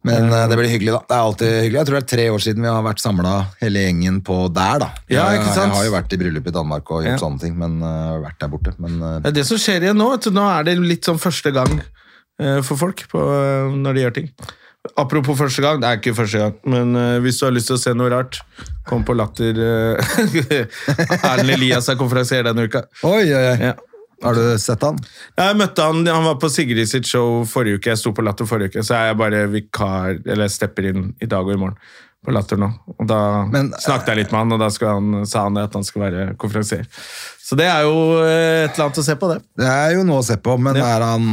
Men eh, det blir hyggelig, da. Det er alltid hyggelig. Jeg tror det er tre år siden vi har vært samla hele gjengen på der, da.
Ja,
Jeg-
ikke sant?
Jeg har jo vært i bryllup i Danmark og gjort
Ja.
sånne ting, men eh, vært der borte. Men eh,
Det er det som skjer igjen nå. Vet du, nå er det litt sånn første gang eh, for folk på, eh, når de gjør ting. Apropos første gang, det er ikke første gang, men eh, hvis du har lyst til å se noe rart, kom på Latter. eh, Erlend Elias er konferansier denne uka.
Oi, oi, oi.
Ja.
Har du sett han?
Jeg møtte han, han var på Sigrid sitt show forrige uke, jeg sto på Latter forrige uke, så er jeg bare vikar, eller jeg stepper inn i dag og i morgen på Latter nå. Og da
Men-
snakket jeg litt med han, og da skulle han, sa han at han skal være konferansier. Så det er jo eh, et eller annet å se på det.
Det er jo noe å se på, men
Ja.
er han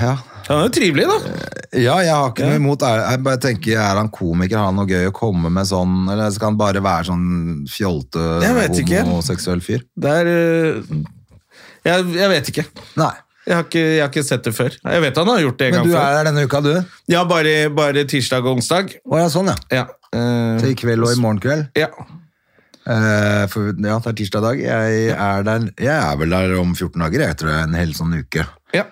ja.
Han er jo trivelig da.
ja, jeg har ikke noe imot er, Jeg bare tenker, er han komiker? Har han noe gøy å komme med sånn? Eller skal han bare være sånn fjolte,
Jeg vet ikke.
homoseksuell fyr?
Det er øh, jeg, jeg vet ikke.
Nei.
Jeg har ikke. Jeg har ikke sett det før. Jeg vet han har gjort det en
Men
gang
du er
før.
her denne uka, du? Å
Ja, bare, bare tirsdag og onsdag.
ja, sånn, ja.
Ja. øh,
Så i kveld og i morgen kveld?
ja.
Eh, for, ja, det er tirsdag i dag. Jeg er, der, jeg er vel der om 14 dager, jeg tror jeg. En hel sånn uke.
ja.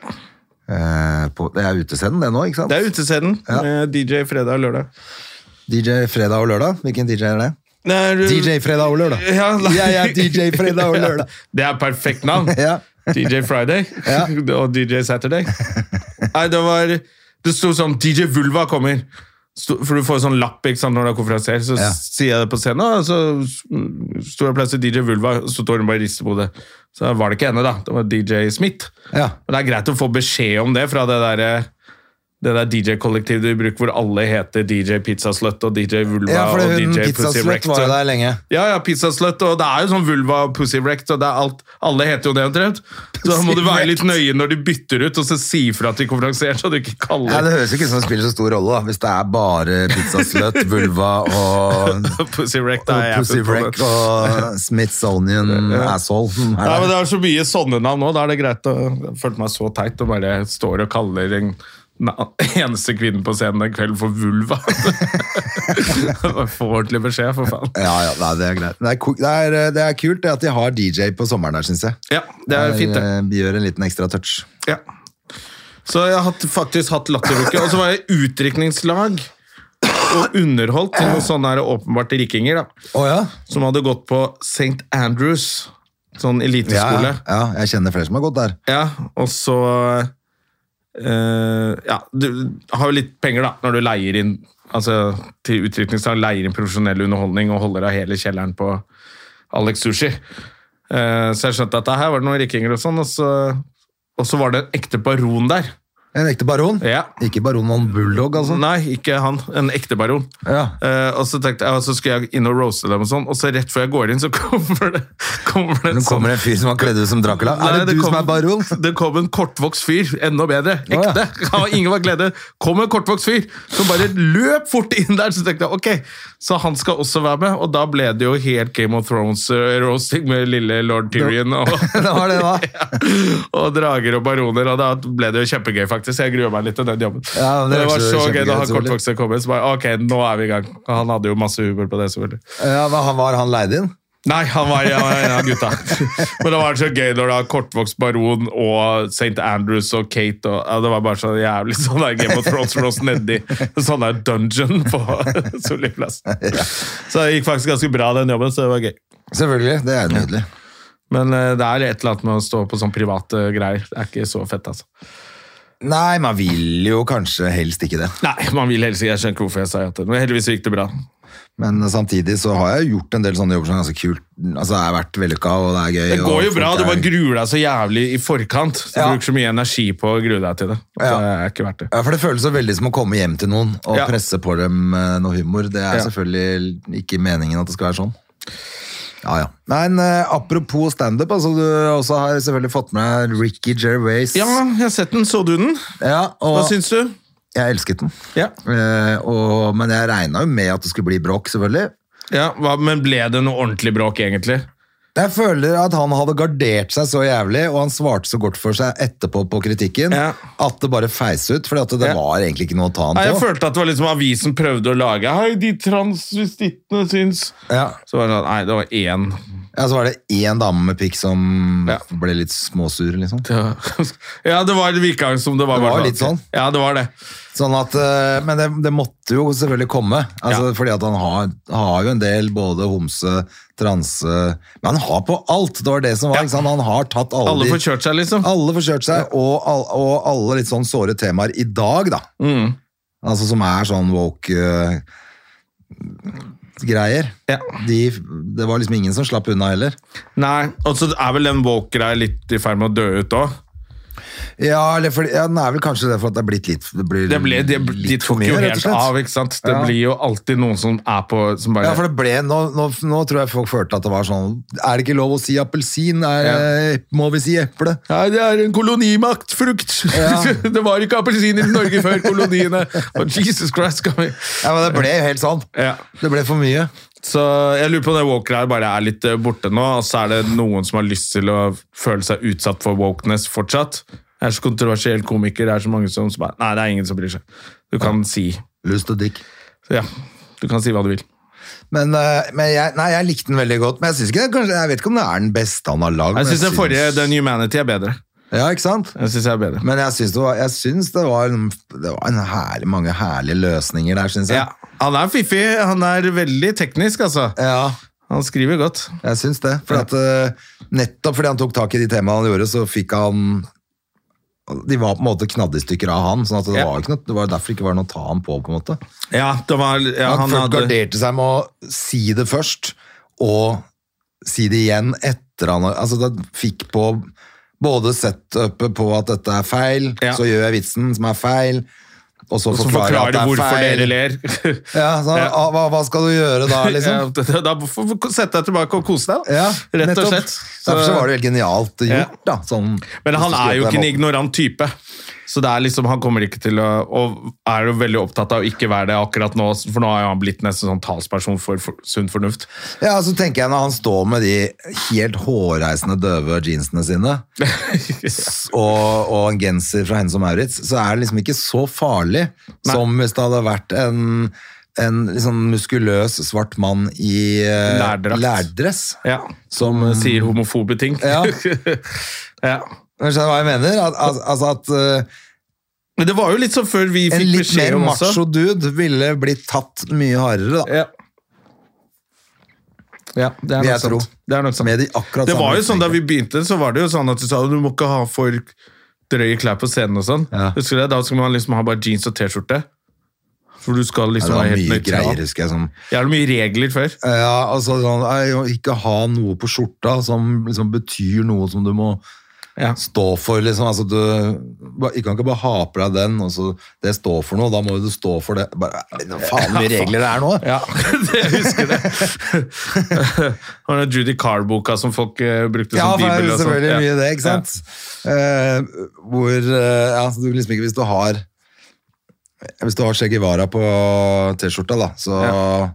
Eh, på, det er utescenen, det nå, ikke sant?
Det er utescenen.
Ja.
med DJ fredag og lørdag.
DJ fredag og lørdag. Hvilken DJ er det?
Det er, øh,
DJ fredag og lørdag.
Ja, nei.
jeg er DJ fredag og lørdag.
Det er perfekt navn.
Ja.
DJ Friday og DJ Saturday. Nei, det var Det sto sånn DJ Vulva kommer. Sto- For du får sånn lapp ikke sant, når du er konferansier. Så
Ja.
sier jeg det på scenen, og så s- mm, sto det plutselig DJ Vulva, og så står hun bare og rister på hodet. Så var det ikke henne, da. Det var DJ Smith.
Ja.
Men det er greit å få beskjed om det fra det derre det der DJ-kollektivet du bruker, hvor alle heter DJ Pizzaslut og DJ Vulva
Ja, for
og
hun
DJ Pussy
pizzaslut
Wrecked.
var jo der lenge.
Ja, ja, pizzaslut, og det er jo sånn vulva og pussy wrecked, og det er alt. Alle heter jo det omtrent. Så da må du være litt nøye når de bytter ut, og så si fra til konferansieren, så du ikke
Ja,
kaller
det høres ikke ut som det spiller så stor rolle, da. Hvis det er bare pizzasløtt, vulva og,
pussy wrecked.
og
Nei, jeg er
Pussy
fullt på
Wreck
det.
og Smithsonian asshole. som er
Nei,
der.
men det er så mye sånne navn nå, da er det greit å Jeg følte meg så teit og bare står og kaller en na- eneste kvinnen på scenen den kvelden for vulva. Få ordentlig beskjed, for faen.
Ja, ja, nei, det er greit. Det er, ko- det er, eh, det er kult det at de har DJ på sommeren der, syns jeg.
Ja, det er fint, det.
eh, gjør en liten ekstra touch.
Ja. Så jeg har hatt, faktisk hatt latteruke, og så var jeg utdrikningslag og underholdt til noen sånne her åpenbart rikinger, da.
Å ja?
Som hadde gått på St. Andrews, sånn
Ja,
eliteskole.
ja, ja. Jeg kjenner flere som har gått der.
Ja, og så eh, Ja, du har jo litt penger, da, når du leier inn altså til utviklingslag, leier inn profesjonell underholdning og holder av hele kjelleren på Alex Sushi. Eh, så jeg skjønte at det her var det noen rikinger og sånn, og så, og så var det en ekte baron der.
En ekte baron.
Ja.
Ikke baron og en bulldog, altså.
Nei, ikke han. En ekte baron.
Ja.
Eh, og så tenkte jeg, og så skulle jeg inn og roaste dem, og sånn, og så rett før jeg går inn, så kommer det, kommer det en
Nå kommer
sånn-
det en fyr som har kledd ut som Dracula.
Nei,
er det, du
kom-
som er baron?
Det kom en kortvokst fyr, enda bedre.
ja.
Ekte. Ja, ingen var glede. Kom en kortvokst fyr som bare løp fort inn der. Så tenkte jeg ok, så han skal også være med. Og da ble det jo helt Game of Thrones-roasting med lille lord Tyrion og,
Det var det, da.
og drager og baroner. Og da ble det jo kjempegøy, faktisk. Jeg gruer meg litt til den jobben.
Ja, men det
det, var
høres jo
så gøy da
kjempegøy ut,
han kortvokste kom inn. Så bare ok, nå er vi i gang. Og han hadde jo masse humor på det, selvfølgelig.
Ja, hva han var han leid inn?
Nei, han var, han var en av gutta. Men det var så gøy når det var kortvokst baron og St. Andrews og Kate og ja, Det var bare så jævlig sånn der Game of Thrones for oss nedi en sånn der dungeon på Solli plass. Så det gikk faktisk ganske bra, den jobben, så det var gøy.
Selvfølgelig. Det er nydelig.
Men eh, det er et eller annet med å stå på sånn private greier. Det er ikke så fett, altså.
Nei, man vil jo kanskje helst ikke det.
Nei, man vil helst ikke. Jeg skjønner ikke hvorfor jeg sa ja til det. Men heldigvis så gikk det bra.
Men samtidig så har jeg gjort en del sånne jobber som er ganske kult. Altså, jeg har vært vellykka, og det er gøy.
Det
og
går jo
folk
bra, du
er-
bare gruer deg så jævlig i forkant. Du
Ja.
bruker så mye energi på å grue deg til det. Det
Ja.
er ikke verdt det.
Ja, for det føles så veldig som å komme hjem til noen og
Ja.
presse på dem eh, noe humor. Det er
Ja.
selvfølgelig ikke meningen at det skal være sånn. Ja, ja. Men eh, apropos standup, altså, du også har selvfølgelig fått med deg Ricky Gervais.
Ja, jeg har sett den. Så du den?
Ja,
Hva
og
syns du?
jeg elsket den.
Ja.
Eh, og, men jeg regna jo med at det skulle bli bråk, selvfølgelig.
hva, men ble det noe ordentlig bråk, egentlig?
Jeg føler at han hadde gardert seg så jævlig, og han svarte så godt for seg etterpå på kritikken,
Ja.
at det bare feis ut. For det
Ja.
var egentlig ikke noe å ta
Nei,
han
jeg
på.
følte at det var liksom avisen prøvde å lage Hei, de transvestittene syns
Ja.
Så var det sånn, nei, det var én.
ja, Så var det én dame med pikk som
Ja.
ble litt småsur, liksom.
Ja, det var det virka som det var.
Det var
bare
litt sånn.
Ja, det var det.
Sånn at, eh, Men det, det måtte jo selvfølgelig komme. Altså,
Ja.
Fordi at han har, har jo en del både homse, transe Men han har på alt! Det var det som var.
Ja.
Ikke sant? Han har tatt alle,
Alle
de-
får kjørt seg, liksom.
Alle får kjørt seg, og, all, og alle litt sånn såre temaer i dag, da.
Mm.
Altså som er sånn woke eh, greier.
Ja.
De, det var liksom ingen som slapp unna heller.
Nei, Og så er vel den woke-greia litt i ferd med å dø ut òg.
Ja, eller fordi, ja, den er vel kanskje det for at det er blitt litt det blir
Det ble, de, de
litt for
tok jo
mye, rett og
helt
slett.
av, ikke sant. Det
Ja.
blir jo alltid noen som er på som bare,
Ja, for det ble, nå, nå, nå tror jeg folk følte at det var sånn Er det ikke lov å si appelsin? Er,
Ja.
Må vi si eple?
Nei, det er en kolonimaktfrukt. det var ikke appelsiner i Norge før koloniene. Og Jesus Christ, skal vi...
Ja, men Det ble jo helt sånn.
Ja.
Det ble for mye.
Så jeg lurer på om det woke her bare er litt eh, borte nå, og så er det noen som har lyst til å føle seg utsatt for wokeness fortsatt. Jeg er så kontroversiell komiker, det er så mange som som bare, Nei, det er ingen som bryr seg. Du kan si...
Lyst og dick.
Så ja, du kan si hva du vil.
Men, eh, men jeg, nei, jeg likte den veldig godt. Men jeg, synes ikke, det- kanskje, jeg vet ikke om det er den beste han har lagd. men
Jeg synes den forrige,
synes-
den Humanity, er bedre.
Ja, ikke sant?
Jeg synes jeg er bedre.
Men jeg syns det var, jeg synes det var, en, det var en herlig, mange herlige løsninger der, syns jeg.
Ja, han er fiffig. Han er veldig teknisk, altså.
Ja,
Han skriver godt.
jeg syns det. For at, eh, nettopp fordi han tok tak i de temaene han gjorde, så fikk han De var på en måte knadd i stykker av han, sånn at det
Ja.
var ikke noe, det var derfor ikke var noe å ta han på. på en måte.
Ja, det var... Ja,
han
han
folk
hadde...
garderte seg med å si det først, og si det igjen etter han har- Altså, da fikk på både setupet på at dette er feil,
Ja.
så gjør jeg vitsen som er feil, og så,
som
forklarer jeg at
forklarer
det er
hvorfor
feil.
dere ler.
Ja, så,
Ja.
ah, Hva, hva skal du gjøre da, liksom?
Ja, da får du sette deg tilbake og kose deg.
Ja,
Rett og
nettopp.
slett.
Derfor så var det helt genialt gjort, da. Sånn,
Men han
hvis du
er jo
skulle gjort det
ikke en
på den måten.
ignorant type. Så det er liksom, han kommer ikke til å Og er jo veldig opptatt av å ikke være det akkurat nå, for nå har jo han blitt nesten sånn talsperson for, for sunn fornuft.
Ja, så tenker jeg når han står med de helt hårreisende døve jeansene sine, s- og, og en genser fra Hennes og Maurits, så er det liksom ikke så farlig som hvis det hadde vært en en liksom muskuløs svart mann i eh,
Lærdrakt.
lærdress. Mm.
Ja.
Som
Han Sier homofobe ting.
Ja.
ja.
Men Skjønner du hva jeg mener? At, al- altså at eh,
Men det var jo litt sånn før vi
En
fikk
litt
beskjed
mer
om også.
macho dude ville blitt tatt mye hardere, da.
Ja. ja, det er
Vil
nok
jeg tro.
sant. Det er nok sant.
Med de akkurat
det var
samme
jo sånn Da vi begynte, så var det jo sånn at du sa du må ikke ha for drøye klær på scenen. og sånn.
Ja.
Husker du det? Da skal man liksom ha bare jeans og T-skjorte. For du skal
Ja,
liksom
det var
være helt
mye
nøytral.
greier, husker jeg. Som,
Jævlig mye regler før.
ja, altså sånn, nei, å Ikke ha noe på skjorta som liksom betyr noe som du må
Ja.
stå for, liksom. Altså, du ba- du kan ikke bare ha på deg den, og så det står for noe. Da må du stå for det. Bare, nei, hva faen mye regler det er nå?
Ja, det jeg husker det. Var det Judy Carr-boka som folk eh, brukte
Ja,
som
for det er
bibel?
jo
og sånt?
selvfølgelig
Ja.
mye det, ikke sant? Eh, hvor eh, ja, så du liksom ikke, Hvis du har Hvis du har Che Guevara på T-skjorta, da, så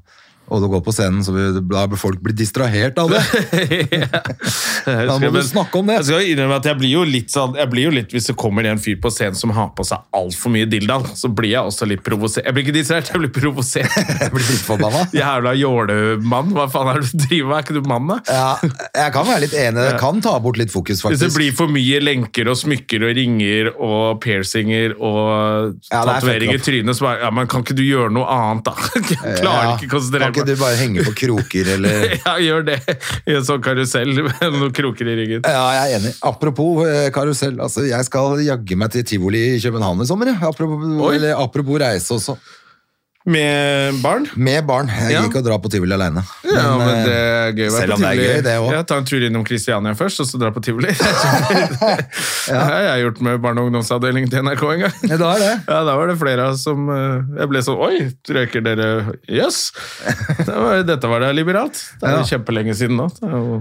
og du går på scenen, så vil, da vil folk bli distrahert av det.
Jeg
Da
husker,
må du
men-
snakke om det.
Jeg skal innrømme at jeg blir jo litt sånn jeg blir jo litt, Hvis det kommer en fyr på scenen som har på seg altfor mye dildan, så blir jeg også litt provosert. Jeg blir ikke distrahert, jeg blir provosert.
Jeg blir litt forbanna.
Jævla jålemann, hva faen er det du driver med? Er ikke du mann, da?
Ja, jeg kan være litt enig. Det kan ta bort litt fokus,
Hvis det
faktisk.
blir for mye lenker og smykker og ringer og piercinger og
Ja, det er
tatoveringer i
fucked
trynet, så bare ja, men kan ikke du gjøre noe annet, da? Jeg klarer
Ja,
ikke å konsentrere
Kan ikke du
meg.
bare henge på kroker, eller
Ja, gjør det. I en sånn karusell med noen kroker i ryggen.
Ja, jeg er enig. Apropos eh, karusell. Altså, jeg skal jaggu meg til tivoli i København i sommer. jeg. Apropos,
Oi.
eller, apropos reise også.
Med barn?
Med barn. Jeg
Ja.
gidder ikke å dra på tivoli alene.
Ja,
Men,
men
eh,
det er gøy å være
selv
på
om det er
tivoli.
gøy, det også.
Ja, ta en tur innom Kristiania først, og så dra på tivoli. Det har jeg gjort med barne- og ungdomsavdelingen til NRK en gang.
Ja, det er det.
Ja, da var det flere av oss som eh, Jeg ble sånn Oi, røyker dere Jøss! Det var- Dette var da liberalt. Det er jo
Ja.
kjempelenge siden nå. Det er jo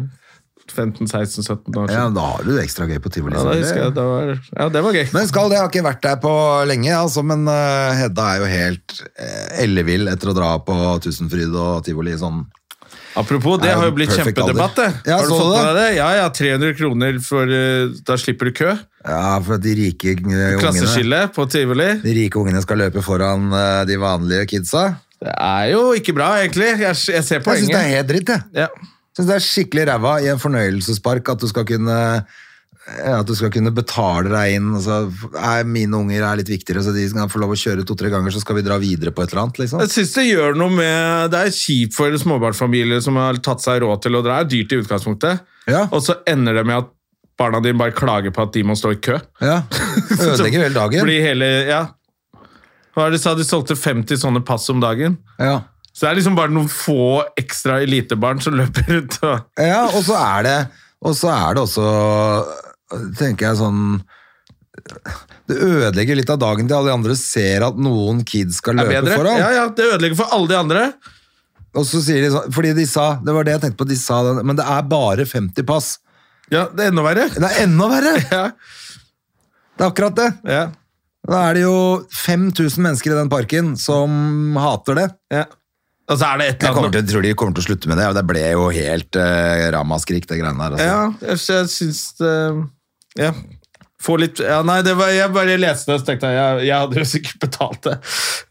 15-16-17 år
Ja,
siden.
da har du det ekstra gøy på tivoli.
Ja, da husker jeg.
selvfølgelig.
Det var, ja, det var gøy.
Men skal det, jeg har ikke vært der på lenge, altså, men eh, Hedda er jo helt uh, ellevill etter å dra på Tusenfryd og tivoli sånn.
Apropos, det
Er jo
har jo blitt
perfect
kjempedebatt, det.
alder. Ja,
har du
så
fått
du
med deg det? Ja, ja, 300 kroner for eh, Da slipper du kø.
Ja, for at de rike eh, ungene
Klasseskille på tivoli.
De rike ungene skal løpe foran eh, de vanlige kidsa.
Det er jo ikke bra, egentlig. Jeg,
Jeg
jeg ser
syns det er
poenget.
helt dritt, jeg.
Ja.
Syns det er skikkelig ræva i en fornøyelsespark at du skal kunne ja, at du skal kunne betale deg inn. Altså, nei, mine unger er litt viktigere, så de skal få lov å kjøre to-tre ganger, så skal vi dra videre på et eller annet. liksom.
Jeg synes det gjør noe med Det er kjipt for småbarnsfamilier som har tatt seg råd til å dra. Det er dyrt i utgangspunktet.
Ja.
Og så ender det med at barna dine bare klager på at de må stå i kø.
Ja. Ødelegger hele dagen.
Blir hele, ja. Hva er det du sa? De solgte 50 sånne pass om dagen.
Ja.
Så det er liksom bare noen få ekstra elitebarn som løper rundt og
ja, og så er det Og så er det også Tenker jeg sånn Det ødelegger litt av dagen til alle de andre ser at noen kids skal
er
løpe
bedre.
foran.
Ja, ja, Det ødelegger for alle de andre.
Og så sier de sånn Fordi de sa Det var det jeg tenkte på, de sa det, men det er bare 50 pass.
Ja, Det er enda verre.
Det er enda verre!
Ja,
Det er akkurat det.
ja,
Da er det jo 5000 mennesker i den parken som hater det.
ja. Og så er det et
Jeg
eller
kommer
annet
til, tror de kommer til å slutte med det. og Det ble jo helt eh, ramaskrik, det greiene der. Altså.
Ja, jeg, jeg syns det Ja. Få litt ja, Nei, det var, jeg bare leste det, så tenkte jeg jeg, jeg hadde jo sikkert betalt det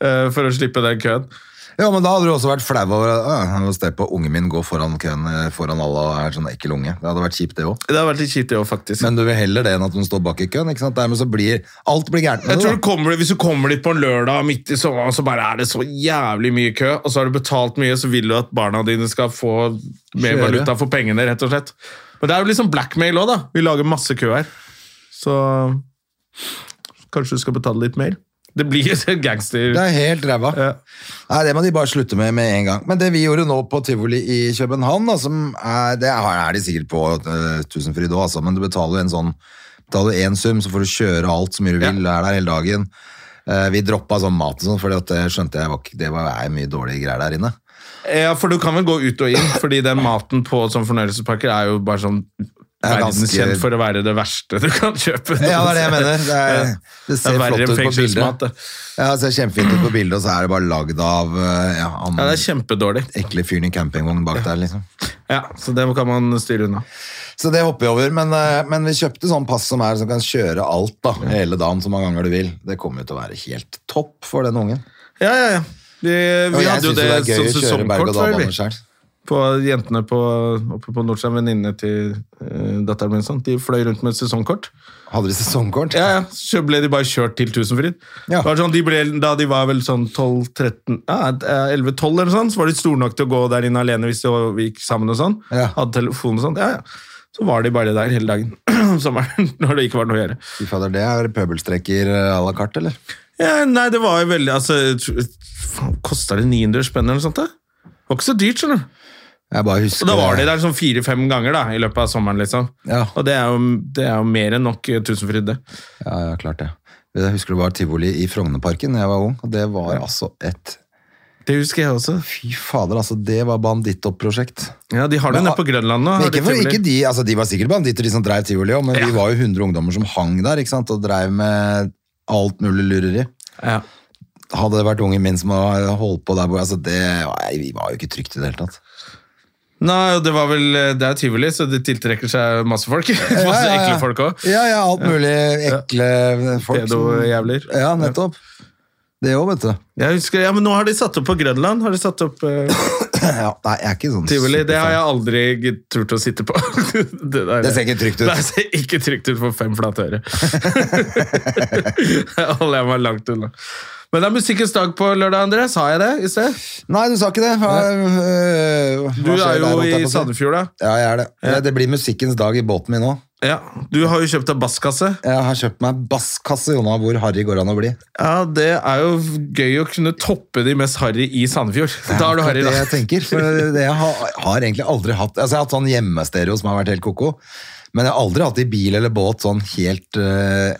eh, for å slippe den køen.
Ja, men da hadde du også vært flau over øh, å se på ungen min gå foran køen eh, foran alle og er sånn ekkel unge. Det hadde vært kjipt, det òg.
Det har vært litt kjipt, det òg, faktisk.
Men du vil heller det enn at hun står bak i køen. ikke sant? Dermed så blir alt blir gærent
jeg
med
tror du
det. da.
kommer, Hvis du kommer dit på en lørdag midt i sommeren, så bare er det så jævlig mye kø, og så har du betalt mye, så vil du at barna dine skal få mer
Kjøre.
valuta for pengene, rett og slett. Men det er jo liksom blackmail òg, da. Vi lager masse kø her. Så kanskje du skal betale litt mer. Det blir jo gangster...
Det er helt ræva.
Ja.
Nei, Det må de bare slutte med med en gang. Men det vi gjorde nå på tivoli i København, da, som er, det har- er de sikkert på uh, Tusenfryd òg, altså, men du betaler jo en sånn Betaler én sum, så får du kjøre alt så mye du vil, er der hele dagen. Eh, vi droppa sånn mat og sånn, for det skjønte jeg var, ikke- det var er mye dårlige greier der inne.
Ja, for du kan vel gå ut og inn, fordi den maten på sånne fornøyelsesparker er jo bare sånn
er ganske-
verdenskjent for å være det verste du kan kjøpe.
Ja, det er det jeg mener. Det, er,
Ja.
det ser
Det er verre
flott
enn
ut på bildet.
fengselsmat, det.
Ja, det ser kjempefint ut på bildet, og så er det bare lagd av eh, ja, han
Ja, det er kjempedårlig.
ekle fyren i campingvognen bak der, liksom.
Ja, så det kan man styre unna.
Så det hopper jeg over, men, eh, men vi kjøpte sånn pass som er som kan kjøre alt, da. Hele dagen, så mange ganger du vil. Det kommer jo til å være helt topp for den ungen.
Ja, ja, ja. Vi,
Og
vi
jeg
hadde jo
synes
det,
det er gøy
som
å kjøre
sesongkort,
berg- og
var vi.
dalbane selv.
på jentene på, oppe på Nordstrand, venninnene til eh, datteren min, og sånn, de fløy rundt med sesongkort.
Hadde de sesongkort?
Ja, ja, Så ble de bare kjørt til Tusenfryd.
Ja.
Det var Sånn, de ble, da de var vel sånn 12-13 ja, 11-12 eller sånn, så var de store nok til å gå der inne alene hvis de var- gikk sammen og sånn.
Ja.
Hadde telefon og sånn. Ja, ja. Så var de bare der hele dagen om sommeren når det ikke var noe å gjøre.
Fy fader, det er pøbelstreker eh, à la carte, eller?
Ja, nei, det var jo veldig altså, faen, Kosta det 900 spenn eller noe sånt? da? Det var ikke så dyrt, skjønner du.
Jeg bare husker
Og da var de der sånn fire-fem ganger da, i løpet av sommeren, liksom.
Ja.
Og det er, jo, det er jo mer enn nok eh, Tusenfryd, det.
Ja, ja, klart det. Jeg husker det var tivoli i Frognerparken da jeg var ung, og det var altså et
Det husker jeg også.
Fy fader, altså, det var bandittopp-prosjekt.
Ja, De har Ah, det
Men
nede
ha-
på Grønland nå.
Men
har de
ikke, for,
trivelig.
ikke de, altså, de var sikkert banditter, de som drev tivoli òg, men vi var jo 100 ungdommer som hang der ikke sant? og drev med alt mulig lureri.
ja.
Hadde det vært ungen min som hadde holdt på der borte altså, det var- Vi var jo ikke trygt i det hele tatt.
Nei, og det var vel eh, Det er tivoli, så det tiltrekker seg masse folk. masse ekle folk òg.
Ja, ja, alt mulig ekle folk. som-
Pedo-jævler.
Ja, nettopp. Det òg, vet du.
Jeg husker, ja, men nå har de satt opp på Grønland. Har de satt opp eh,
Ja, nei, jeg er ikke sånn
tivoli? Det har
superfan.
jeg aldri g- turt å sitte på. det, der-
Det ser ikke trygt ut.
Det ser ikke trygt ut for fem flate øre. Der holder jeg meg langt unna. Men det er Musikkens dag på lørdag, André. Sa jeg det i sted?
Nei, du sa ikke det. Hva, øh, hva
Du
skjer
er
der, holdt jeg
jo i
på å si?
Sandefjord, da.
Ja, jeg er det. Det- Det blir musikkens dag i båten min nå.
Ja. Du har jo kjøpt deg basskasse.
Jeg har kjøpt meg basskasse, Jonna, hvor harry går an å bli.
Ja, Det er jo gøy å kunne toppe de mest harry i Sandefjord. Da er du harry,
Det
da.
jeg tenker, for det jeg har, har egentlig aldri hatt Altså, jeg har hatt sånn hjemmestereo som har vært helt koko, men jeg har aldri hatt i bil eller båt sånn helt øh,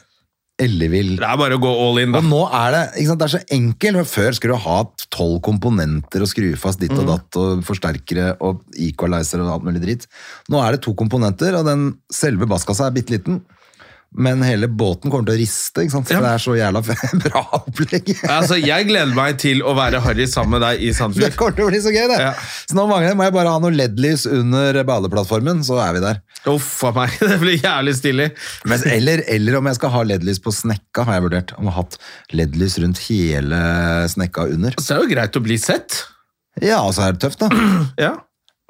ellevill.
Det er bare å gå all in, da.
Og nå er det ikke sant, det er så enkelt. for Før skulle du ha tolv komponenter og skru fast ditt
Mm.
og datt og forsterkere og equalizer og alt mulig dritt. Nå er det to komponenter, og den selve basskassa er bitte liten. Men hele båten kommer til å riste, ikke sant? for
Ja.
det er så jævla f- bra opplegg.
Altså, Jeg gleder meg til å være harry sammen med deg i
Det
Sandefjord.
kommer til å bli så gøy, det!
Ja.
Så nå mangler jeg, må jeg bare ha noe LED-lys under badeplattformen, så er vi der.
Uff a meg, det blir jævlig stilig.
Men, eller, eller om jeg skal ha LED-lys på snekka, har jeg vurdert. Om jeg har hatt LED-lys rundt hele snekka under.
Så det er jo greit å bli sett.
Ja, og så er det tøft, da.
Ja,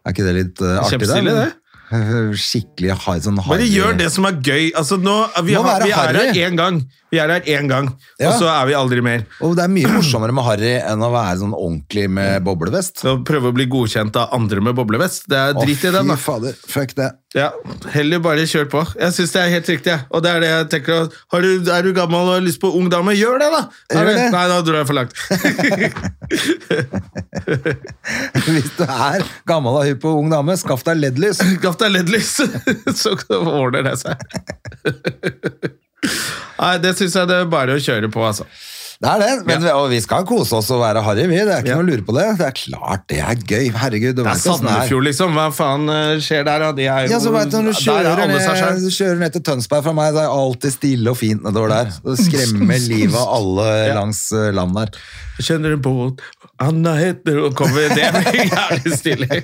Er ikke det litt eh, artig? der,
Kjempestilig,
eller? Skikkelig hard, sånn
Bare
harry-
gjør det som er gøy. Altså, nå, vi,
Nå
har,
er det
vi er
harry.
her én gang, Vi er her én gang,
Ja.
og så er vi aldri mer.
Og det er mye morsommere med harry enn å være sånn ordentlig med boblevest.
Så Prøve å bli godkjent av andre med boblevest. Det er
Å,
drit i den, da.
Fy fader, fuck det.
Ja, Heller bare kjør på. Jeg syns det er helt riktig. jeg. Og det er det jeg tenker å- har du, Er du gammel og har lyst på ung dame, gjør det, da! Er
Gjør
du-
det.
Nei, da dro jeg for langt.
Hvis du er gammel og hypp på ung dame, skaff deg LED-lys.
Skaff deg LED-lys, så ordner det seg. Nei, det syns jeg det er bare å kjøre på, altså.
Det er det, men vi- og vi skal kose oss og være harry, vi. Det er ikke
Ja.
noe å lure på det. Det er klart det er gøy. Herregud, du
Det er
vet åssen det er.
Sandefjord, liksom. Hva faen eh, skjer der, da? De er jo
Ja, så vet du, Når du
Der
kjører eh,
er alle seg
ned,
selv.
du kjører ned til Tønsberg fra meg, det er alltid stille og fint nedover der. Det skremmer livet av alle langs eh, land der.
Jeg Kjenner en båt Anna heter og kommer Det blir jævlig stilig.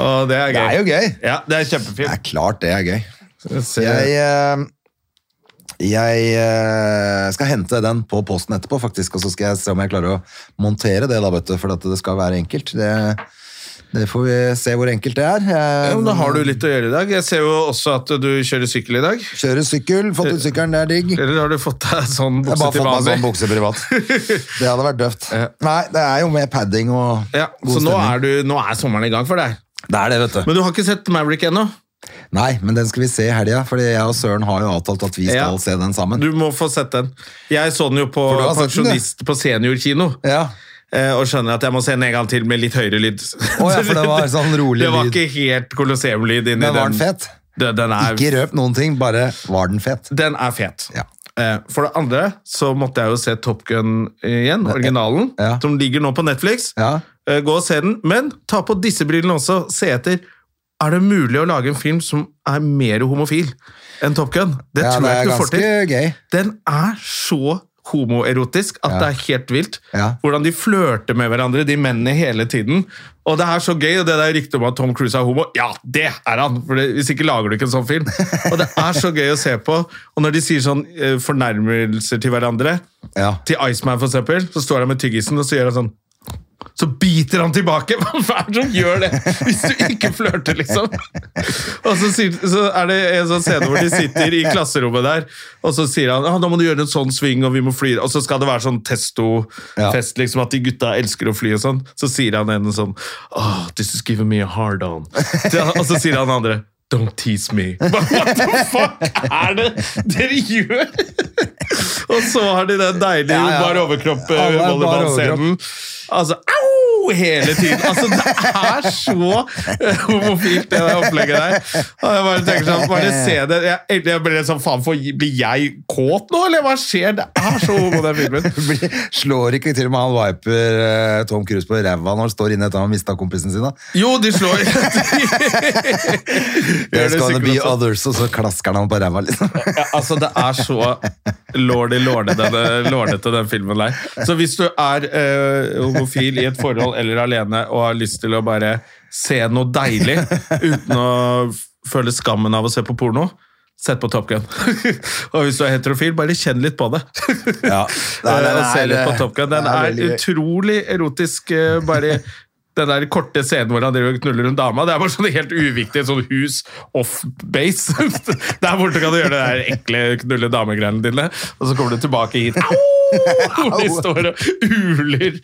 Å, det er gøy.
Det er jo gøy.
Ja, det er
Det er
kjempefint.
klart det er gøy.
Jeg ser-
Jeg, eh, jeg eh, skal hente den på posten etterpå, faktisk, og så skal jeg se om jeg klarer å montere det, da, vet du, for at det skal være enkelt. Det, det får vi se hvor enkelt det er. Jeg,
Ja, men da har du litt å gjøre i dag. Jeg ser jo også at du kjører sykkel i dag.
Kjører sykkel,
Eh,
fått ut sykkelen, det er digg.
Eller har du fått deg sånn
Jeg har
bukse
bare
til
fått meg
vanlig?
sånn bukse privat. Det hadde vært døvt. Nei, det er jo med padding og
Ja,
god
så nå
stemning.
er, du, nå er sommeren i gang for deg.
Det er det, vet du.
Men du har ikke sett Maverick ennå.
Nei, men den skal vi se i helga, fordi jeg og Søren har jo avtalt at vi skal
Ja.
se den sammen.
Du må få sett den. Jeg så den jo på,
For du har sett den, du?
pensjonist, på seniorkino.
Ja.
eh, Og skjønner at jeg må se den en gang til med litt høyere lyd.
ja, for det var sånn rolig
Det var
lyd.
ikke helt kolosseumlyd inni
Men var den fet?
Den, den,
Ikke
er,
røp noen ting, bare var den fet.
den er fet.
Ja.
Eh, For det andre så måtte jeg jo se Top Gun eh, igjen, originalen,
eh, Ja.
som ligger nå på Netflix.
Ja.
Eh, Gå og se den, men ta på disse brillene også. Se etter. Er det mulig å lage en film som er mer homofil enn Top Gun? Det
Ja,
tror
det
jeg
er
ikke du får
ganske
til.
gøy.
Den er så homoerotisk at det er helt vilt.
Ja.
Hvordan de flørter med hverandre, de mennene hele tiden. Og det er så gøy, og det der ryktet om at Tom Cruise er homo, ja, det er han! For det, hvis ikke lager du ikke en sånn film. Og det er så gøy å se på. Og når de sier sånn eh, fornærmelser til hverandre,
Ja.
til Iceman for eksempel, så står han med tyggisen, og så gjør han sånn så biter han tilbake. Hva er det som gjør det hvis du ikke flørter, liksom? Og så, sier, så er det en sånn scene hvor de sitter i klasserommet der, og så sier han ah, da må du gjøre en sånn sving, og vi må fly. Og så skal det være sånn testo-fest, liksom, at de gutta elsker å fly og sånn. Så sier han en sånn oh, This is giving me a hard on. Og så sier han andre Don't tease me. What the fuck er det dere gjør?! og så har de den deilige
Ja, ja.
bar overkropp eh,
Alle er bar
volleyballscenen. Altså, au! Hele tiden. Altså, det er så eh, homofilt, det der opplegget der. Og jeg bare tenker sånn, bare se det. Jeg, jeg ble sånn, faen, får- blir jeg kåt nå, eller hva skjer? Det er så homo, den filmen.
Blir- Slår ikke til og med han viper eh, Tom Cruise på ræva når han står inne etter han har mista kompisen sin? da?
Jo, de slår. Gjør
There's
det
gonna
sikkert
be
også.
others, og så klasker han han på ræva, liksom.
Ja, altså, det er så lordy lordy, denne- lordete, den filmen der. Så hvis du er eh, homofil i et forhold eller alene og har lyst til å bare se noe deilig uten å f- føle skammen av å se på porno, sett på Top Gun. og hvis du er heterofil, bare kjenn litt på det.
Ja. Nei, nei,
Eh, og
nei,
se litt
det-
på Top Gun. Den
det er
er,
veldig gøy.
utrolig erotisk. eh, bare den der korte scenen hvor han driver og knuller en dame, det er bare sånn helt uviktig. Sånn hus off base. Der borte kan du gjøre det der ekle knulle dame-greiene dine, og så kommer du tilbake hit. Au! Hvor de står og uler.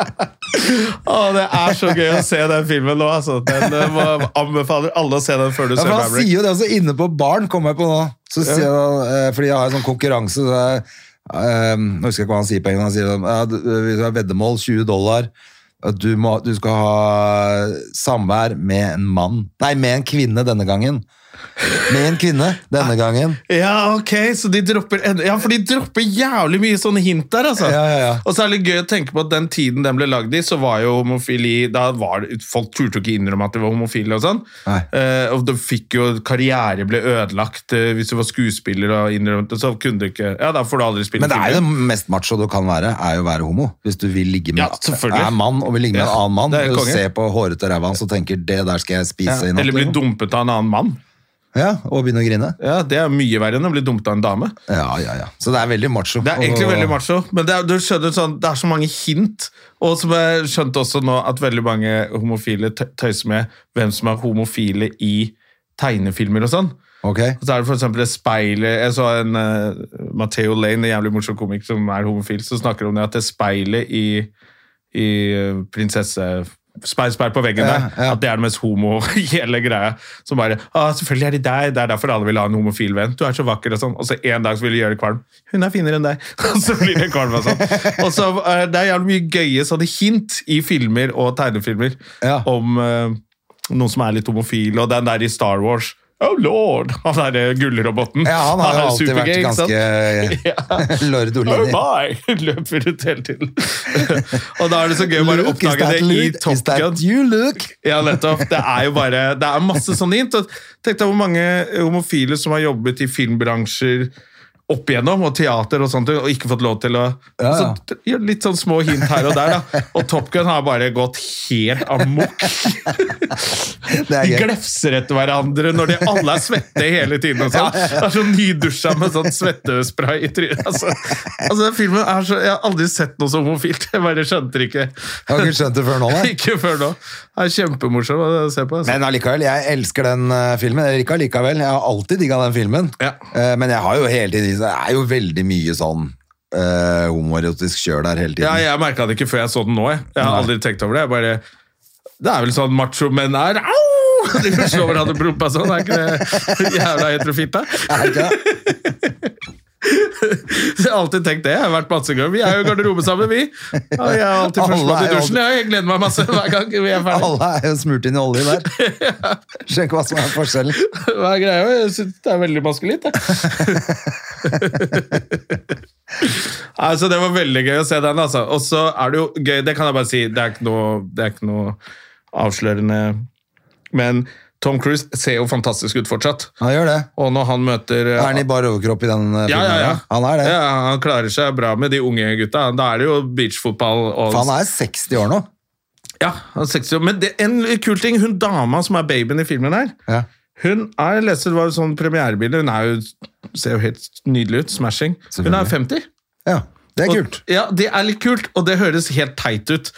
Å, det er så gøy å se den filmen nå, altså. Den eh, må- anbefaler alle å se den før du
Ja,
ser
for han
Maverick.
sier jo det også inne på baren, kommer jeg på nå. Så sier han, eh, fordi jeg har en sånn konkurranse så jeg, eh, Nå husker jeg ikke hva han sier på engang. Han sier sånn ja, du- Hvis du har veddemål, 20 dollar at du, må, du skal ha samvær med en mann Nei, med en kvinne denne gangen. Med en kvinne
Ah.
denne gangen.
Ja, ok, så de dropper en- Ja, for de dropper jævlig mye sånne hint der, altså.
Ja, ja, ja.
Og så er det litt gøy å tenke på at den tiden den ble lagd i, så var jo homofili da var, det- Folk turte jo ikke innrømme at de var homofile og sånn.
Nei.
Eh, og de fikk jo Karriere ble ødelagt eh, hvis du var skuespiller og innrømte så kunne du ikke Ja, da får du aldri spille
Men det er jo
film.
det mest macho du kan være, er jo å være homo. Hvis du vil ligge med
Ja, selvfølgelig.
er mann og vil ligge med en
Ja,
annen mann,
det er
og
konge.
ser på hårete ræva hans og tenker 'det der skal jeg spise i natt'.
Eller bli
liksom.
dumpet av en annen mann.
Ja, og begynne å grine.
Ja, Det er mye verre enn å bli dumpet av en dame.
Ja, ja, ja. Så det er veldig macho.
Det er egentlig
Og-
veldig macho, men det er, du skjønner sånn, det er så mange hint. Og som jeg skjønte også nå, at veldig mange homofile tø- tøyser med hvem som er homofile i tegnefilmer og sånn.
Ok.
Og så er det for eksempel det speilet Jeg så en uh, Matheo Lane, en jævlig morsom komiker som er homofil, som snakker om det at det speilet i, i eh, prinsesse... Speil, speil på veggen
Ja,
der.
ja.
At det er det mest homo i hele greia. Som bare ah, 'Selvfølgelig er de deg, det er derfor alle vil ha en homofil venn. Du er så vakker', og sånn. Og så en dag så vil de gjøre det kvalm. 'Hun er finere enn deg'. Og så blir det kvalm og sånn. Og så eh, Det er jævlig mye gøye sånne hint i filmer og tegnefilmer
Ja.
om eh, noen som er litt homofile, og den der i Star Wars. Oh lord! Han derre gullroboten.
Ja, han har jo
er
alltid vært
supergay, ikke sant?
ganske eh, lord
Oh
Olini.
my! Løper rundt hele tiden. og da er det så gøy å bare
Luke, is
oppdage
that
det i
Luke?
Top
Is that
Gun.
you, Luke?
Ja, nettopp. Det er jo bare Det er masse sånne hint. og Tenk deg hvor mange homofile som har jobbet i filmbransjer opp igjennom, og teater og sånt, og ikke fått lov til å
Ja, ja.
Så, gjør Litt sånn små hint her og der, da. Og Top Gun har bare gått helt amok.
Det er
De
gøy.
glefser etter hverandre når de alle er svette hele tiden. Og sånn. Det er sånn nydusja med sånn svettespray i trynet. Altså, altså, den filmen er så, Jeg har aldri sett noe så homofilt. Jeg bare skjønte det ikke.
Jeg har ikke skjønt det før nå, nei.
Ikke før nå. Det er kjempemorsom å se på. Altså.
Men allikevel, jeg elsker den eh, filmen. Eller ikke allikevel, jeg har alltid digga den filmen.
Ja.
Eh, men jeg har jo hele tiden Det er jo veldig mye sånn eh, homoerotisk kjør der hele tiden.
Ja, jeg merka det ikke før jeg så den nå. Jeg, jeg har
Nei.
aldri tenkt over det. Jeg bare, det er vel sånn macho menn er Au! De slår hverandre på rumpa sånn. Er ikke det jævla heterofilt, da?
Er det ikke det?
Så Jeg har alltid tenkt det. Jeg har vært masse ganger. Vi er jo i garderobe sammen, vi. Og jeg er alltid
Alle
førstemann
er
i
jo
dusjen. Jeg gleder meg masse hver gang vi er ferdig.
Alle er jo smurt inn i olje der. Skjønner ikke hva som er forskjellen.
Hva er greia? Jeg synes det er veldig maskulint, jeg. altså, det var veldig gøy å se den, altså. Og så er det jo gøy, det kan jeg bare si, det er ikke noe, det er ikke noe avslørende Men Tom Cruise ser jo fantastisk ut fortsatt.
Han gjør det.
Og når han møter
Er han i bar overkropp i den eh, filmen?
ja, ja, ja.
da? Han er det.
Ja, han klarer seg bra med de unge gutta. Da er det jo beachfotball og
For han er 60 år nå.
Ja, han er 60 år. Men det, en kul ting, hun dama som er babyen i filmen her,
Ja.
hun er, jeg leste det var jo sånn premierebilde, hun er jo, ser jo helt nydelig ut, smashing. Hun er
Selvfølgelig.
50.
Ja. Det er
Og-
kult.
Ja, det er litt kult, og det høres helt teit ut.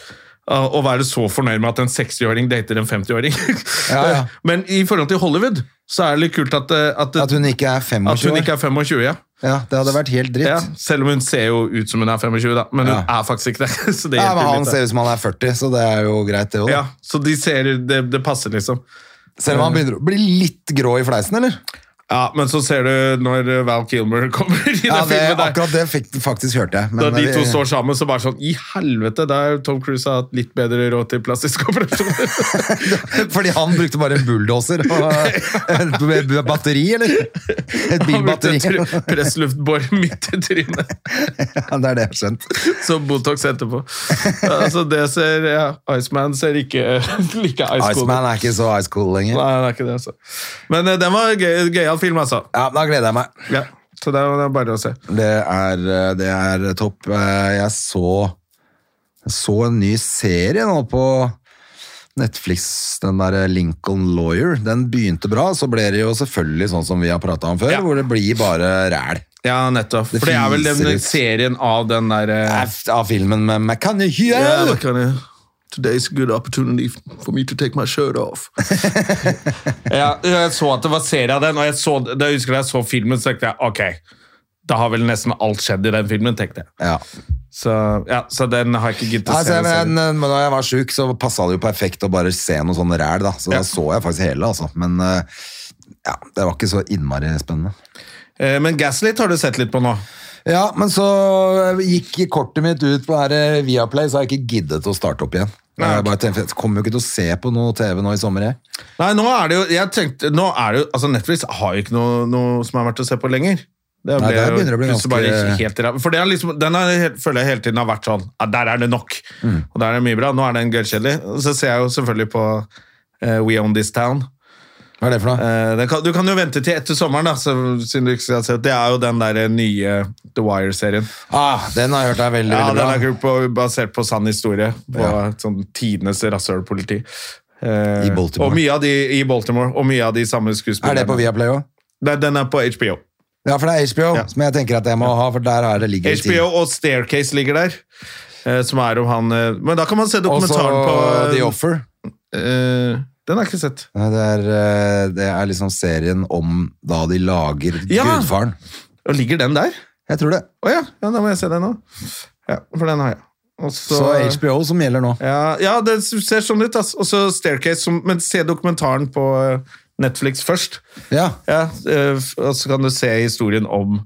uh, Å være så fornøyd med at en 60-åring dater en 50-åring.
Ja, ja.
Men i forhold til Hollywood, så er det litt kult at, uh, at,
At hun ikke er
at
25
hun
år.
ikke er 25. Ja.
Ja, det hadde vært helt dritt.
Ja, selv om hun ser jo ut som hun er 25, da. men hun
Ja.
er faktisk ikke det. Så det
Ja, men
hjelper jo
Han
litt, da.
ser ut som han er 40, så det er jo greit, det òg.
ja, så de ser, det, det passer, liksom.
Selv om han begynner å bli litt grå i fleisen, eller?
Ja, Men så ser du når uh, Val Kilmer kommer i den
Ja, det,
filmen der.
akkurat det fikk, faktisk hørte jeg.
Da
men
de
vi-
to står sammen, så bare sånn I helvete! Der Tom Cruise har hatt litt bedre råd til plastiske operasjoner.
Fordi han brukte bare en bulldoser og et b- batteri, eller? Et
Han brukte
bilbatteri.
tr- pressluftbor midt i trynet.
Ja, det er det jeg har skjønt.
Så Botox etterpå. Altså, det ser ja, Iceman ser ikke like ice cold
Iceman er ikke så ice cool lenger.
Nei, det er ikke det, altså. Men eh, den var gøy- gøyal film, altså.
Ja, Da gleder jeg meg.
Ja. Så det er det er bare å se.
Det er, eh, det er topp. Eh, Jeg så, jeg så en ny serie nå på Netflix, den der Lincoln Lawyer. Den begynte bra, så ble det jo selvfølgelig sånn som vi har prata om før,
Ja.
hvor det blir bare ræl.
Ja, nettopp.
Det
For det er vel den
fiser ut.
serien av den eh, derre
F- Av filmen med McCann Hugh!
Today's a good opportunity for me to take my shirt off. ja, jeg så at det var serie av den, og jeg så, da jeg husker jeg så filmen, så tenkte jeg ok, da har vel nesten alt skjedd i den filmen, tenkte jeg.
Ja.
Så, ja, så den har jeg ikke giddet
Nei,
å se.
så jeg,
den
men,
serien.
men da jeg var sjuk, så passa det jo perfekt å bare se noe sånn ræl, da. Så
Ja.
da så jeg faktisk hele, altså. Men eh, ja, det var ikke så innmari spennende.
Eh, men Gaslit har du sett litt på nå.
Ja, men så gikk kortet mitt ut på det her eh, Viaplay, så har jeg ikke giddet å starte opp igjen.
Nei,
Jeg bare tenkte, jeg kommer jo ikke til å se på noe TV nå i sommer, jeg.
Nei, nå er det jo, jeg tenkte, nå er det jo, altså Netflix har jo ikke noe, noe som er verdt å se på lenger. Det
Nei,
ble
der
jo
begynner det å bli
plutselig
ganske-
bare helt i ræva. For det er liksom, den er, helt- føler jeg hele tiden har vært sånn, ja, der er det nok,
Mm.
og der er det mye bra. Nå er den gørkjedelig. Så ser jeg jo selvfølgelig på eh, We Own This Town.
Hva er det for noe?
Eh, den kan, du kan jo vente til etter sommeren, da, så, siden du ikke skal se det. Det er jo den der eh, nye The Wire-serien.
Ah, den har jeg hørt er veldig,
Ja,
veldig
den
bra.
er kul på, basert på sann historie. På
Ja.
sånn tidenes rasshølpoliti. Eh,
I Baltimore.
Og mye av de, I Baltimore. Og mye av de samme
Er
skuespillerne.
det på Viaplay òg?
Nei, den er på HBO.
Ja, for det er HBO,
Ja.
som jeg tenker at jeg må ha, for der er det ligger det
HBO og Staircase ligger der. eh, Som er om han eh, Men da kan man se
ting. Og så
dokumentaren på
The Offer.
eh, Den har jeg ikke sett.
Nei, Det er, eh, det er liksom serien om da de lager
Ja!
Gudfaren.
Og ligger den der?
Jeg tror det.
Å ja. ja, da må jeg se den nå. Ja, for den har jeg. Og
Så, HBO som gjelder nå.
Ja, ja, det ser sånn ut. ass. Og så Staircase. Som, men se dokumentaren på eh, Netflix først.
Ja.
Ja, eh, f- og så kan du se historien om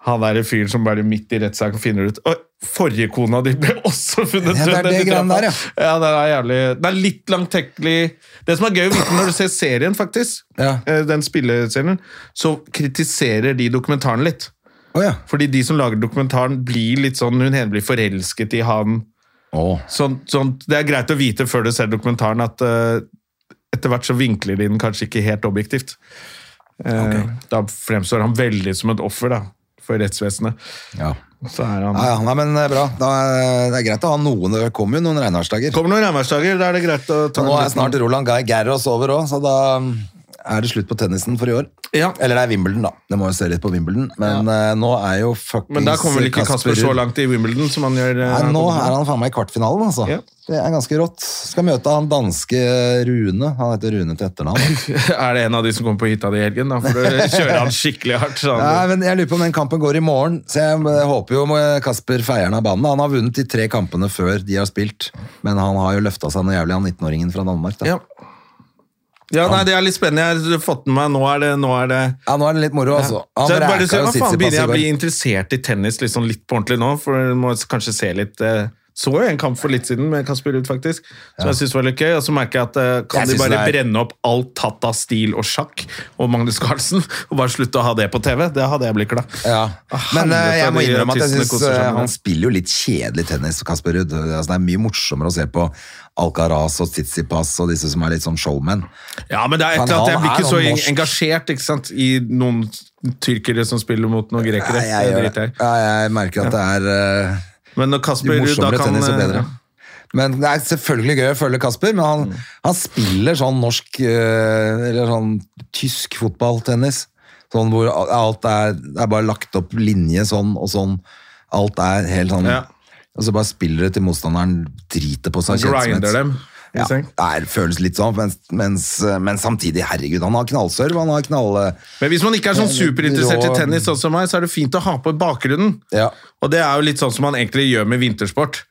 han der fyren som bare midt i rettssaken finner ut Og forrige kona di ble også funnet
Ja, det er
død
det
i
greiene
trappa.
der,
ja. Det er jævlig Det er litt langtekkelig Det som er gøy å vite når du ser serien, faktisk,
Ja.
eh, den spilleserien, så kritiserer de dokumentaren litt.
Å ja.
Fordi de som lager dokumentaren, blir litt sånn Hun ene blir forelsket i han.
Å.
Sånn, sånn, det er greit å vite før du ser dokumentaren at eh, etter hvert så vinkler de den kanskje ikke helt objektivt. Eh, Da fremstår han veldig som et offer da, for rettsvesenet.
ja.
Så er han...
Ja, ja. Nei, men eh, bra. Da, eh, det er greit å ha noen. Det kommer jo noen regnværsdager.
Kommer noen regnværsdager, da er det greit å ta
Så nå er
en liten-
snart Roland Guy Gerros over òg, så da mm, er det slutt på tennisen for i år.
Ja.
Eller det er Wimbledon, da. Det må jo se litt på Wimbledon. Men eh, nå er jo fuckings
Men da kommer vel ikke Kasper så
Ruud-
langt i Wimbledon som han gjør. eh,
Nei, nå
kommer
er han faen meg i kvartfinalen, altså.
Ja.
Det er ganske rått. Skal møte han danske Rune. Han heter Rune til etternavn.
til. Er det en av de som kommer på hytta di i helgen? Da får du kjøre han skikkelig hardt. Så
Nei,
han,
men Jeg lurer på om den kampen går i morgen, så jeg eh, håper jo eh, Kasper feier den av banen. Han har vunnet de tre kampene før de har spilt, men han har jo løfta seg noe jævlig, han 19-åringen fra Danmark. Da.
ja. ja, nei, det er litt spennende. Jeg har fått med meg, nå er det... Nå er det
Ja, nå er det litt moro, altså. Han
Så jeg bare
vreka
ser,
jo
hva faen,
Tsitsipas
begynner jeg å bli
i går.
interessert i tennis litt sånn litt på ordentlig nå? For jeg må kanskje se litt eh, Så jo en kamp for litt siden med Kasper Ruud, faktisk. Som jeg synes var litt gøy. Og så merker jeg at eh,
Jeg
kan de
synes
bare
det er-
brenne opp alt tatt av stil og sjakk og Magnus Carlsen, og bare slutte å ha det på TV? Det hadde jeg blitt glad.
Ja.
Ah,
Men eh,
helvete,
jeg må
de
innrømme at jeg
artistene
synes
koser seg
eh,
med
han
det.
spiller jo litt kjedelig tennis, Kasper Ruud. Altså, det er mye morsommere å se på Alcaraz og Tsitsipas og disse som er litt sånn showman.
Ja, men det er et
Men
eller annet. Jeg
han
blir
er
ikke så
noen norsk-
engasjert ikke sant? i noen tyrkere som spiller mot noen grekere.
Nei, jeg,
Det
gjør det.
driter jeg i.
Ja, jeg merker at det er eh,
Men når
Jo
Kasper Ruud da
morsommere
kan
tennis, jo
eh,
bedre. Men Det er selvfølgelig gøy å følge Kasper, men han,
Mm.
han spiller sånn norsk eh, Eller sånn tysk fotballtennis. Sånn hvor alt er, det er bare lagt opp linje sånn og sånn. Alt er helt sånn
Ja.
Og så bare spiller det til motstanderen driter på seg.
Grinder
kjøttsmett.
dem, i
Ja,
seng.
det er- føles litt sånn, mens, mens, men samtidig, herregud, han har knallsørv, han har knall...
Men hvis man ikke er sånn superinteressert i
Rå-
tennis, sånn som meg, så er det fint å ha på i bakgrunnen.
Ja.
Og det er jo litt sånn som man egentlig gjør med vintersport.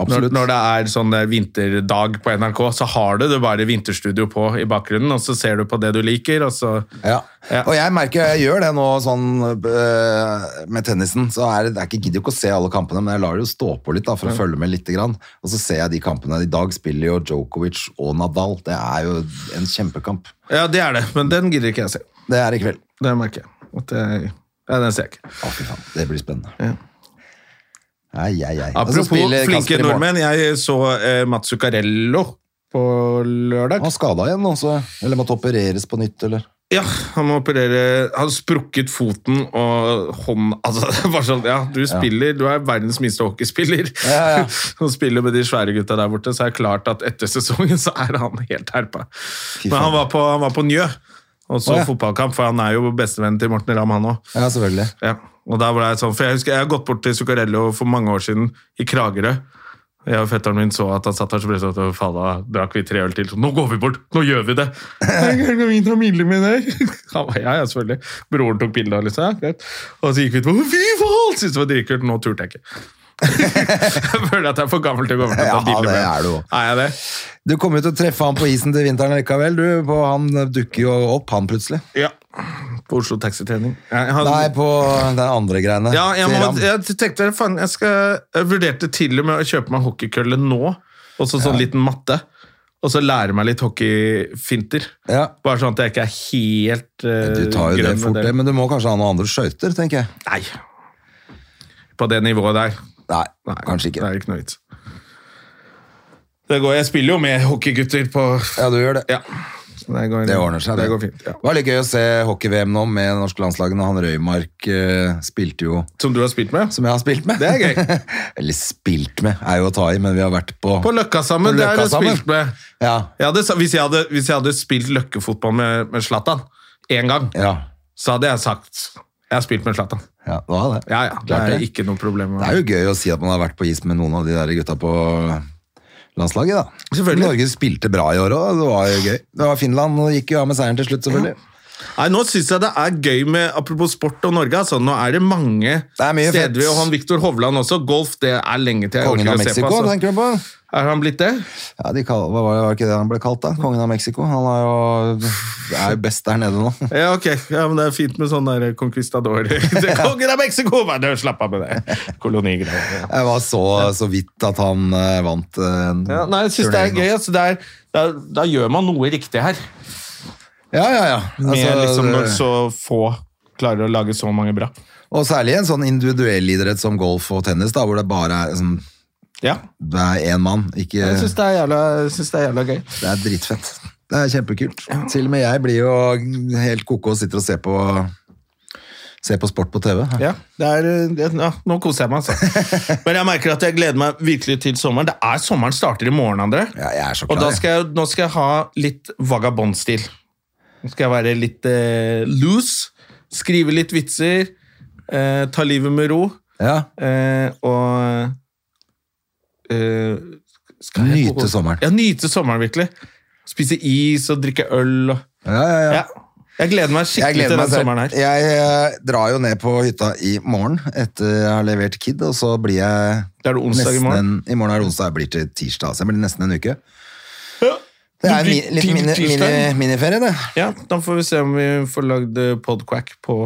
Når,
Absolutt.
når det er sånn der vinterdag på NRK, så har du det bare vinterstudio på i bakgrunnen, og så ser du på det du liker, og så
Ja.
Ja.
og jeg merker jeg gjør det nå sånn øh, med tennisen. Så er det, det er ikke, gidder jo ikke å se alle kampene, men jeg lar det jo stå på litt da, for å følge med litt. Grann. Og så ser jeg de kampene. I dag spiller jo Djokovic og Nadal. Det er jo en kjempekamp.
Ja, det er det, men den gidder ikke jeg se.
Det er i kveld.
Det merker jeg. At jeg ja, den ser jeg ikke.
Å, fy faen. Det blir spennende. Ai, ai, ai. Og så
Apropos
spiller Kasper
flinke
i morgen.
nordmenn, jeg så eh, Mats Zuccarello på lørdag.
Han skada igjen, også. eller måtte opereres på nytt, eller?
Ja, han må operere Han har sprukket foten og hånd Altså, det er bare sånn Ja, du spiller, du er verdens minste hockeyspiller.
Ja, ja.
Og spiller med de svære gutta der borte, så er det klart at etter sesongen så er han helt herpa. Men
faen.
han var på, han var på Njø, og så
Å, ja.
fotballkamp, for han er jo bestevennen til Morten Ramm, han òg.
Ja, selvfølgelig.
Ja, og der var det sånn, for jeg husker jeg har gått bort til Zuccarello for mange år siden i Kragerø. Jeg og fetteren min så at han satt der, så ble det sånn at faen, da drakk vi tre øl til. Så, nå går vi bort! Nå gjør vi det! Jeg kan ikke ta bilder med deg. Han ba, ja, ja, selvfølgelig. Broren tok bilde av liksom, ja, greit. Og så gikk vi ut på Fy faen! Syntes det var dritkult. Nå turte jeg ikke. jeg føler at jeg er for gammel til å gå bort og ta
Ja,
bilder med
det
ham.
er du også.
Er jeg det?
Du kommer jo til å treffe han på isen til vinteren likevel, du. På, han dukker jo opp, han plutselig.
Ja. På Oslo Taxitrening. Jeg, han,
Nei, på den andre greiene.
Ja, jeg,
til
må,
Ram.
jeg tenkte faen, jeg, skal, jeg vurderte til og med å kjøpe meg hockeykølle nå, og så sånn liten matte. Og så lære meg litt hockeyfinter.
Ja.
Bare sånn at jeg ikke er helt eh,
Du tar jo det
grønn med
fort, det, men du må kanskje ha noen andre skøyter, tenker jeg.
Nei. På det nivået der.
Nei,
Nei,
kanskje
Det
ikke.
er ikke noe vits. Det går, jeg spiller jo med hockeygutter på
Ja, du gjør det.
Ja. Så Det, går,
Det ordner seg, det.
det. går fint. Ja.
Det var litt gøy å se hockey-VM nå med norske landslagene. Han Røymark eh, spilte jo
Som du har spilt med?
som jeg har spilt med.
Det er gøy.
Eller spilt med, er jo å ta i, men vi har vært på
På Løkka sammen.
På
det har
Løkka
jeg
sammen.
spilt med.
Ja.
Jeg hadde, sa- hvis, jeg hadde, hvis jeg hadde spilt løkkefotball med, med Zlatan én gang,
Ja.
så hadde jeg sagt jeg har spilt med Zlatan.
ja, det var det.
Ja, ja, det
Klart
er
det.
ikke noe problem.
Det er jo gøy å si at man har vært på is med noen av de der gutta på landslaget, da.
Selvfølgelig.
Norge spilte bra i år òg, det var jo gøy. Det var Finland, og gikk jo av med seieren til slutt, selvfølgelig.
Nei, nå syns jeg det er gøy med Apropos sport og Norge. Altså, nå er det mange
er mye fett.
steder. Og han Viktor Hovland også. Golf det er lenge til. jeg
Kongen
orker
av
å se
Mexico,
på, altså.
tenker du på?
Er han blitt det?
Ja, de kall, hva var det var ikke det han ble kalt da? Kongen av Mexico? Han er jo, er jo best der nede nå.
Ja, ok. Ja, men Det er fint med sånn der conquistador. Det er Kongen av Mexico! Bare dør, slapp av med det. Kolonigreier. Ja.
Jeg var så, så vidt at han eh, vant eh, en
Ja, nei, jeg syns det er
turnering nå.
gøy. Altså, det er, da, da gjør man noe riktig her.
Ja, ja, ja.
Med
Altså,
liksom når
det-
så få klarer å lage så mange bra.
Og særlig en sånn individuell idrett som golf og tennis, da, hvor det bare er sånn,
Ja,
det er én mann. Ikke,
jeg syns det, er jævla- jeg synes det er jævla gøy.
det er dritfett. Det er kjempekult. Til og med jeg blir jo helt koko og sitter og ser på, ser på sport på TV.
Ja, det er, det, ja, nå koser jeg meg, altså. Men jeg merker at jeg gleder meg virkelig til sommeren. Det er Sommeren starter i morgen, André.
Ja, jeg er så
Og
klar.
da
jeg.
skal jeg, nå skal jeg ha litt vagabondstil. Nå skal jeg være litt eh, loose, skrive litt vitser, eh, ta livet med ro.
Ja,
Eh, og eh, skal jeg
Nyte
på-
sommeren.
Ja, nyte sommeren, virkelig. Spise is og drikke øl. Og,
ja, ja. ja.
ja. Jeg gleder meg
Jeg
skikkelig
gleder
til
meg
den
selv.
sommeren her.
Jeg eh, drar jo ned på hytta i morgen etter jeg har levert kid, og så blir jeg
Da er det onsdag i
nesten
morgen.
En, I morgen er det onsdag, jeg blir til tirsdag, så jeg blir nesten en uke. Det
Du
er en mi,
blir
litt
til
mini, mini,
tirsdag?
miniferie, det.
Ja, Da får vi se om vi får lagd eh, podquack på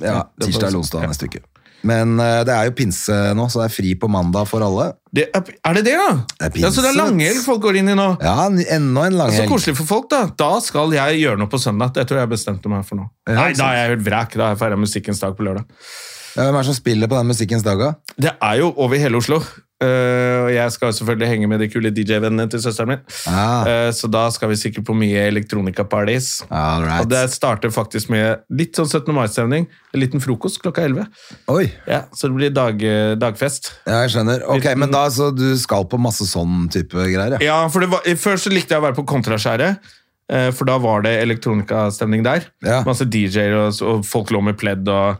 Ja,
det får vi
tirsdag
se.
eller onsdag
Ja.
neste uke. Men eh, det er jo pinse nå, så det er fri på mandag for alle.
det er, er det det, da?
Det er
ja, så det er
pinse.
langhelg folk går inn i nå.
Ja, n- enda en
Så
langhelg.
koselig for folk, da. Da skal jeg gjøre noe på søndag. Det tror jeg bestemte meg for nå. Nei, da er jeg helt vræk. Da er jeg ferdig med Musikkens dag på lørdag.
Ja, Hvem er det som spiller på den musikkens dag, da?
Det er jo over hele Oslo. Eh, og jeg skal jo selvfølgelig henge med de kule DJ-vennene til søsteren min.
Ah.
Eh, så da skal vi sikkert på mye elektronika-parties.
All
Og
right.
det starter faktisk med litt sånn 17. mai-stemning. En liten frokost klokka 11.
Oi,
Ja, så det blir dag, eh, dagfest.
ja, jeg skjønner. Ok,
Liten-
Men da, så du skal på masse sånn type greier, ja?
Ja, for det var, Først så likte jeg å være på Kontraskjæret, eh, for da var det elektronikastemning der.
Ja.
Masse DJ-er, og, og folk lå med pledd og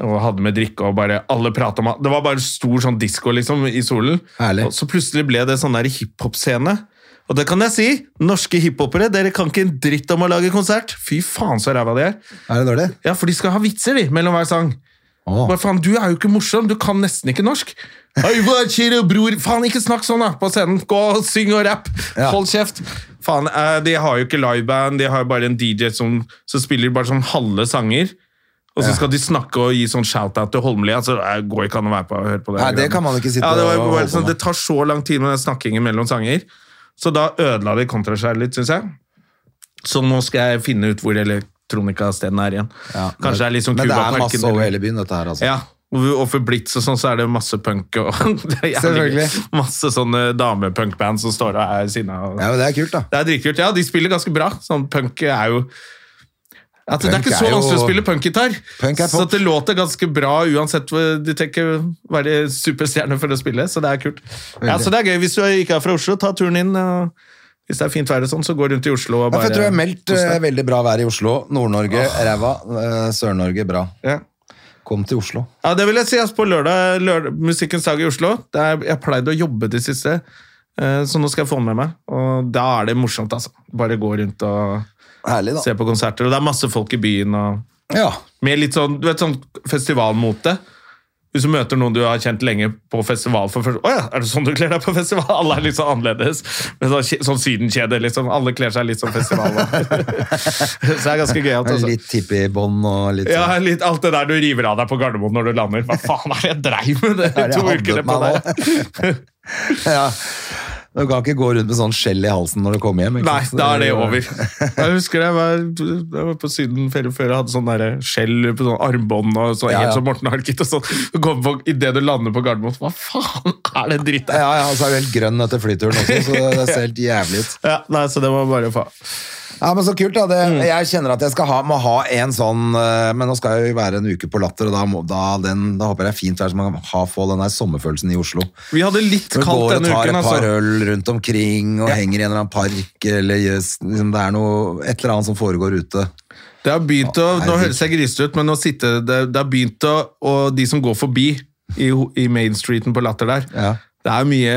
og hadde med drikke og bare Alle prata om Det var bare stor sånn disko liksom, i solen.
Herlig.
Og så plutselig ble det sånn der hiphop-scene. Og det kan jeg si! Norske hiphopere, dere kan ikke en dritt om å lage konsert! Fy faen, så ræva de er.
Er det dårlig?
Ja, for de skal ha vitser, de, mellom hver sang.
Åh.
Bare, faen, du er jo ikke morsom, du kan nesten ikke norsk. Oi, hva skjer, bror? Faen, ikke snakk sånn da, på scenen. Gå og syng og rapp.
Ja.
Hold kjeft. Faen, eh, de har jo ikke liveband, de har jo bare en DJ som, som spiller bare sånn halve sanger. Og så skal de snakke og gi sånn shout-out til Holmlia. Altså, det går ikke an å være på og høre på det.
Nei, det kan man ikke sitte
ja, det,
og
var, jo bare
holde på
sånn,
med.
det tar så lang tid med den snakkingen mellom sanger. Så da ødela de kontra seg litt, syns jeg. Så nå skal jeg finne ut hvor elektronikastedene er igjen.
Ja,
Kanskje det er liksom
Men det er masse
Cubaparken.
over
eller-
hele byen, dette her, altså.
Ja, og vi- og for Blitz og sånn, så er det masse punk og det er jævlig-
Selvfølgelig.
Masse sånne damepunkband som står og er sinna. og-
Ja, men det er kult, da.
Det er dritkult. Ja, de spiller ganske bra. Sånn punk er jo at Det er
Punk
ikke så
er jo-
vanskelig å spille punkgitar,
Punk er
så
pop.
at det låter ganske bra uansett. hvor- De trenger ikke være superstjerner for å spille, så det er kult. Ja,
Veldig.
så det er gøy. Hvis du ikke er fra Oslo, ta turen inn. og Hvis det er fint vær og sånn, så gå rundt i Oslo
Ja,
og bare
for jeg tror jeg har meldt
kos
eh,
deg.
veldig bra vær i Oslo. Nord-Norge, ræva. eh, Sør-Norge, bra.
ja.
Kom til Oslo.
Ja, det vil jeg si. Altså, på lørdag, lørdag Musikkens dag i Oslo. Der jeg pleide å jobbe det siste, eh, så nå skal jeg få med meg. Og da er det morsomt, altså. Bare gå rundt og
Herlig, da.
se på konserter. Og det er masse folk i byen. og
Ja.
Med litt sånn, du vet, sånn festivalmote. Hvis du møter noen du har kjent lenge på festival for første Å ja, er det sånn du kler deg på festival? Alle er litt sånn annerledes. Med sånn, kje- sånn sydenkjede, liksom. Alle kler seg litt som festival. så det er ganske gøyalt.
Med
altså.
Litt tippi-bånd og litt
Ja,
sånn.
litt alt det der du river av deg på Gardermoen når du lander. Hva faen er det jeg dreiv med det,
Hva er det
to
jeg
ukene
hadde
på
meg
der?
ja. Du kan ikke gå rundt med sånn skjell i halsen når du kommer hjem. ikke
Nei,
sant?
da er det over. Jeg husker det, jeg var, jeg var på Syden ferie før jeg hadde sånn der skjell på sånn armbånd og sånn,
Ja, ja.
helt som Morten Harket og sånn. Du kommer på- i det du lander på Gardermoen, hva faen er det dritt der?
Ja, ja, og så er du helt grønn etter flyturen også, så det ser helt jævlig ut.
Ja, nei, så det var bare faen.
Ja, men så kult da, det, Jeg kjenner at jeg skal ha, må ha en sånn eh, Men nå skal jeg jo være en uke på latter, og da, må, da, den, da håper jeg det er fint vær, så man kan ha, få den der sommerfølelsen i Oslo.
Vi hadde litt
Du går
kaldt
og
denne
tar
uken,
et par
altså.
øl rundt omkring og henger i en eller annen park, eller gjøs, liksom, det er noe, et eller annet som foregår ute.
Det har begynt å,
Å,
Nå
herregud.
høres jeg grisete ut, men å sitte, det, det har begynt å Og de som går forbi i, ho- i Main Streeten på Latter der
Ja.
Det er mye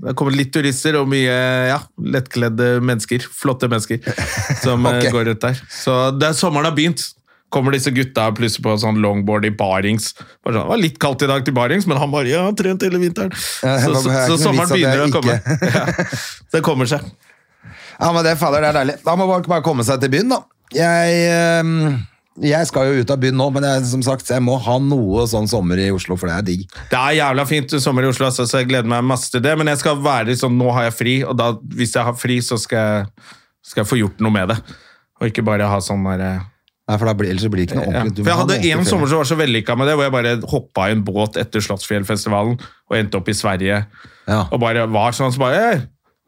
Det kommer litt turister og mye ja, lettkledde mennesker. Flotte mennesker som eh,
Ok.
går rundt der. Så det er sommeren har begynt. Kommer disse gutta plutselig på sånn longboard i barings. Bare sånn, det var litt kaldt i dag til barings, men han bare ja, han har trent hele vinteren. Så,
Ja, det var-
så, så,
det er ikke noe
sommeren
vits
begynner å
at
komme.
jeg
Ja, det kommer seg.
Ja, men det, fader, det er deilig. Da må man bare komme seg til byen, da. Jeg, ehm, jeg skal jo ut av byen nå, men jeg, som sagt, jeg må ha noe sånn sommer i Oslo, for det er digg.
Det er jævla fint sommer i Oslo, altså, så jeg gleder meg masse til det. Men jeg skal være sånn, nå har jeg fri, og da, hvis jeg har fri, så skal jeg, skal jeg få gjort noe med det. Og ikke bare ha sånn der... eh,
Nei, for da blir, ellers så blir det ikke noe
Ja.
ordentlig. Du
For
må
jeg
ha
hadde
noe
en
ordentlig
sommer som var så vellykka med det, hvor jeg bare hoppa i en båt etter Slottsfjellfestivalen og endte opp i Sverige.
Ja.
Og bare var sånn, så bare «Ei,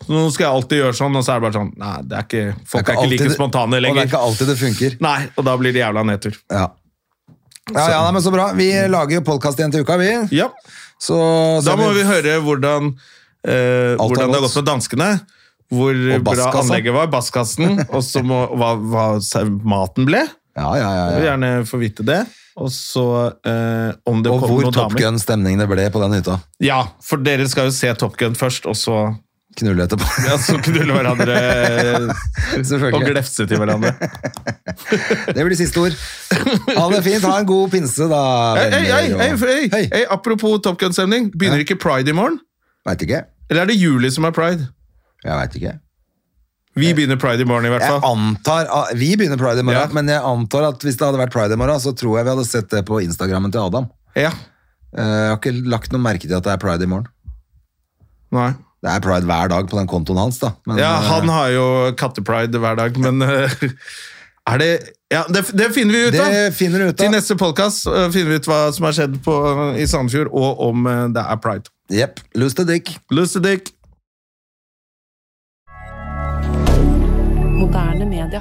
Nå skal jeg alltid gjøre sånn, og så er det bare sånn Nei, det er ikke, folk
Det
er ikke,
alltid
like
det-
spontane
Og det er
lenger.
ikke alltid det funker.
Nei, og da blir det jævla nedtur.
Ja. Ja, ja, nei, men så bra. Vi lager jo podkast igjen til uka, vi.
Ja.
Så,
Da
ser
må vi høre hvordan, eh,
har
hvordan det har
gått.
gått med danskene. Hvor
Og
bra
basskassa.
anlegget var, basskassen, og så må, hva, hva sau- maten ble.
Ja, ja, ja,
Jeg vil
ja.
gjerne få vite det. Og så eh, om det
Og
kom
hvor
noen
Top
damer.
Gun-stemningen det ble på den hytta.
Ja, for dere skal jo se Top Gun først, og så,
Knulle etterpå.
ja, så knulle hverandre og
Selvfølgelig.
glefse til hverandre.
Det blir siste ord. Ha det fint. Ha en god pinse, da.
Hei, hei, hei,
venner, og-
hei, hei,
Hei.
hei, apropos Top Gun-stemning. Begynner ikke pride i morgen?
Veit ikke.
Eller er det juli som er pride?
Jeg veit ikke.
Vi begynner pride i morgen, i hvert
Jeg
fall.
antar, Vi begynner pride i morgen,
Ja.
men jeg antar at hvis det hadde vært pride i morgen, så tror jeg vi hadde sett det på Instagrammen til Adam.
Ja.
Eh, Jeg har ikke lagt noe merke til at det er pride i morgen.
Nei.
Det er pride hver dag på den kontoen hans, da. Men,
Ja,
eh,
han har jo kattepride hver dag, men eh, er det Ja, det, det finner vi ut av!
Det finner du ut av.
Til neste podkast finner vi ut hva som har skjedd på, eh, i Sandefjord, og om eh, det er pride.
Jepp. Lose the dick.
Lose the dick!
Moderne media.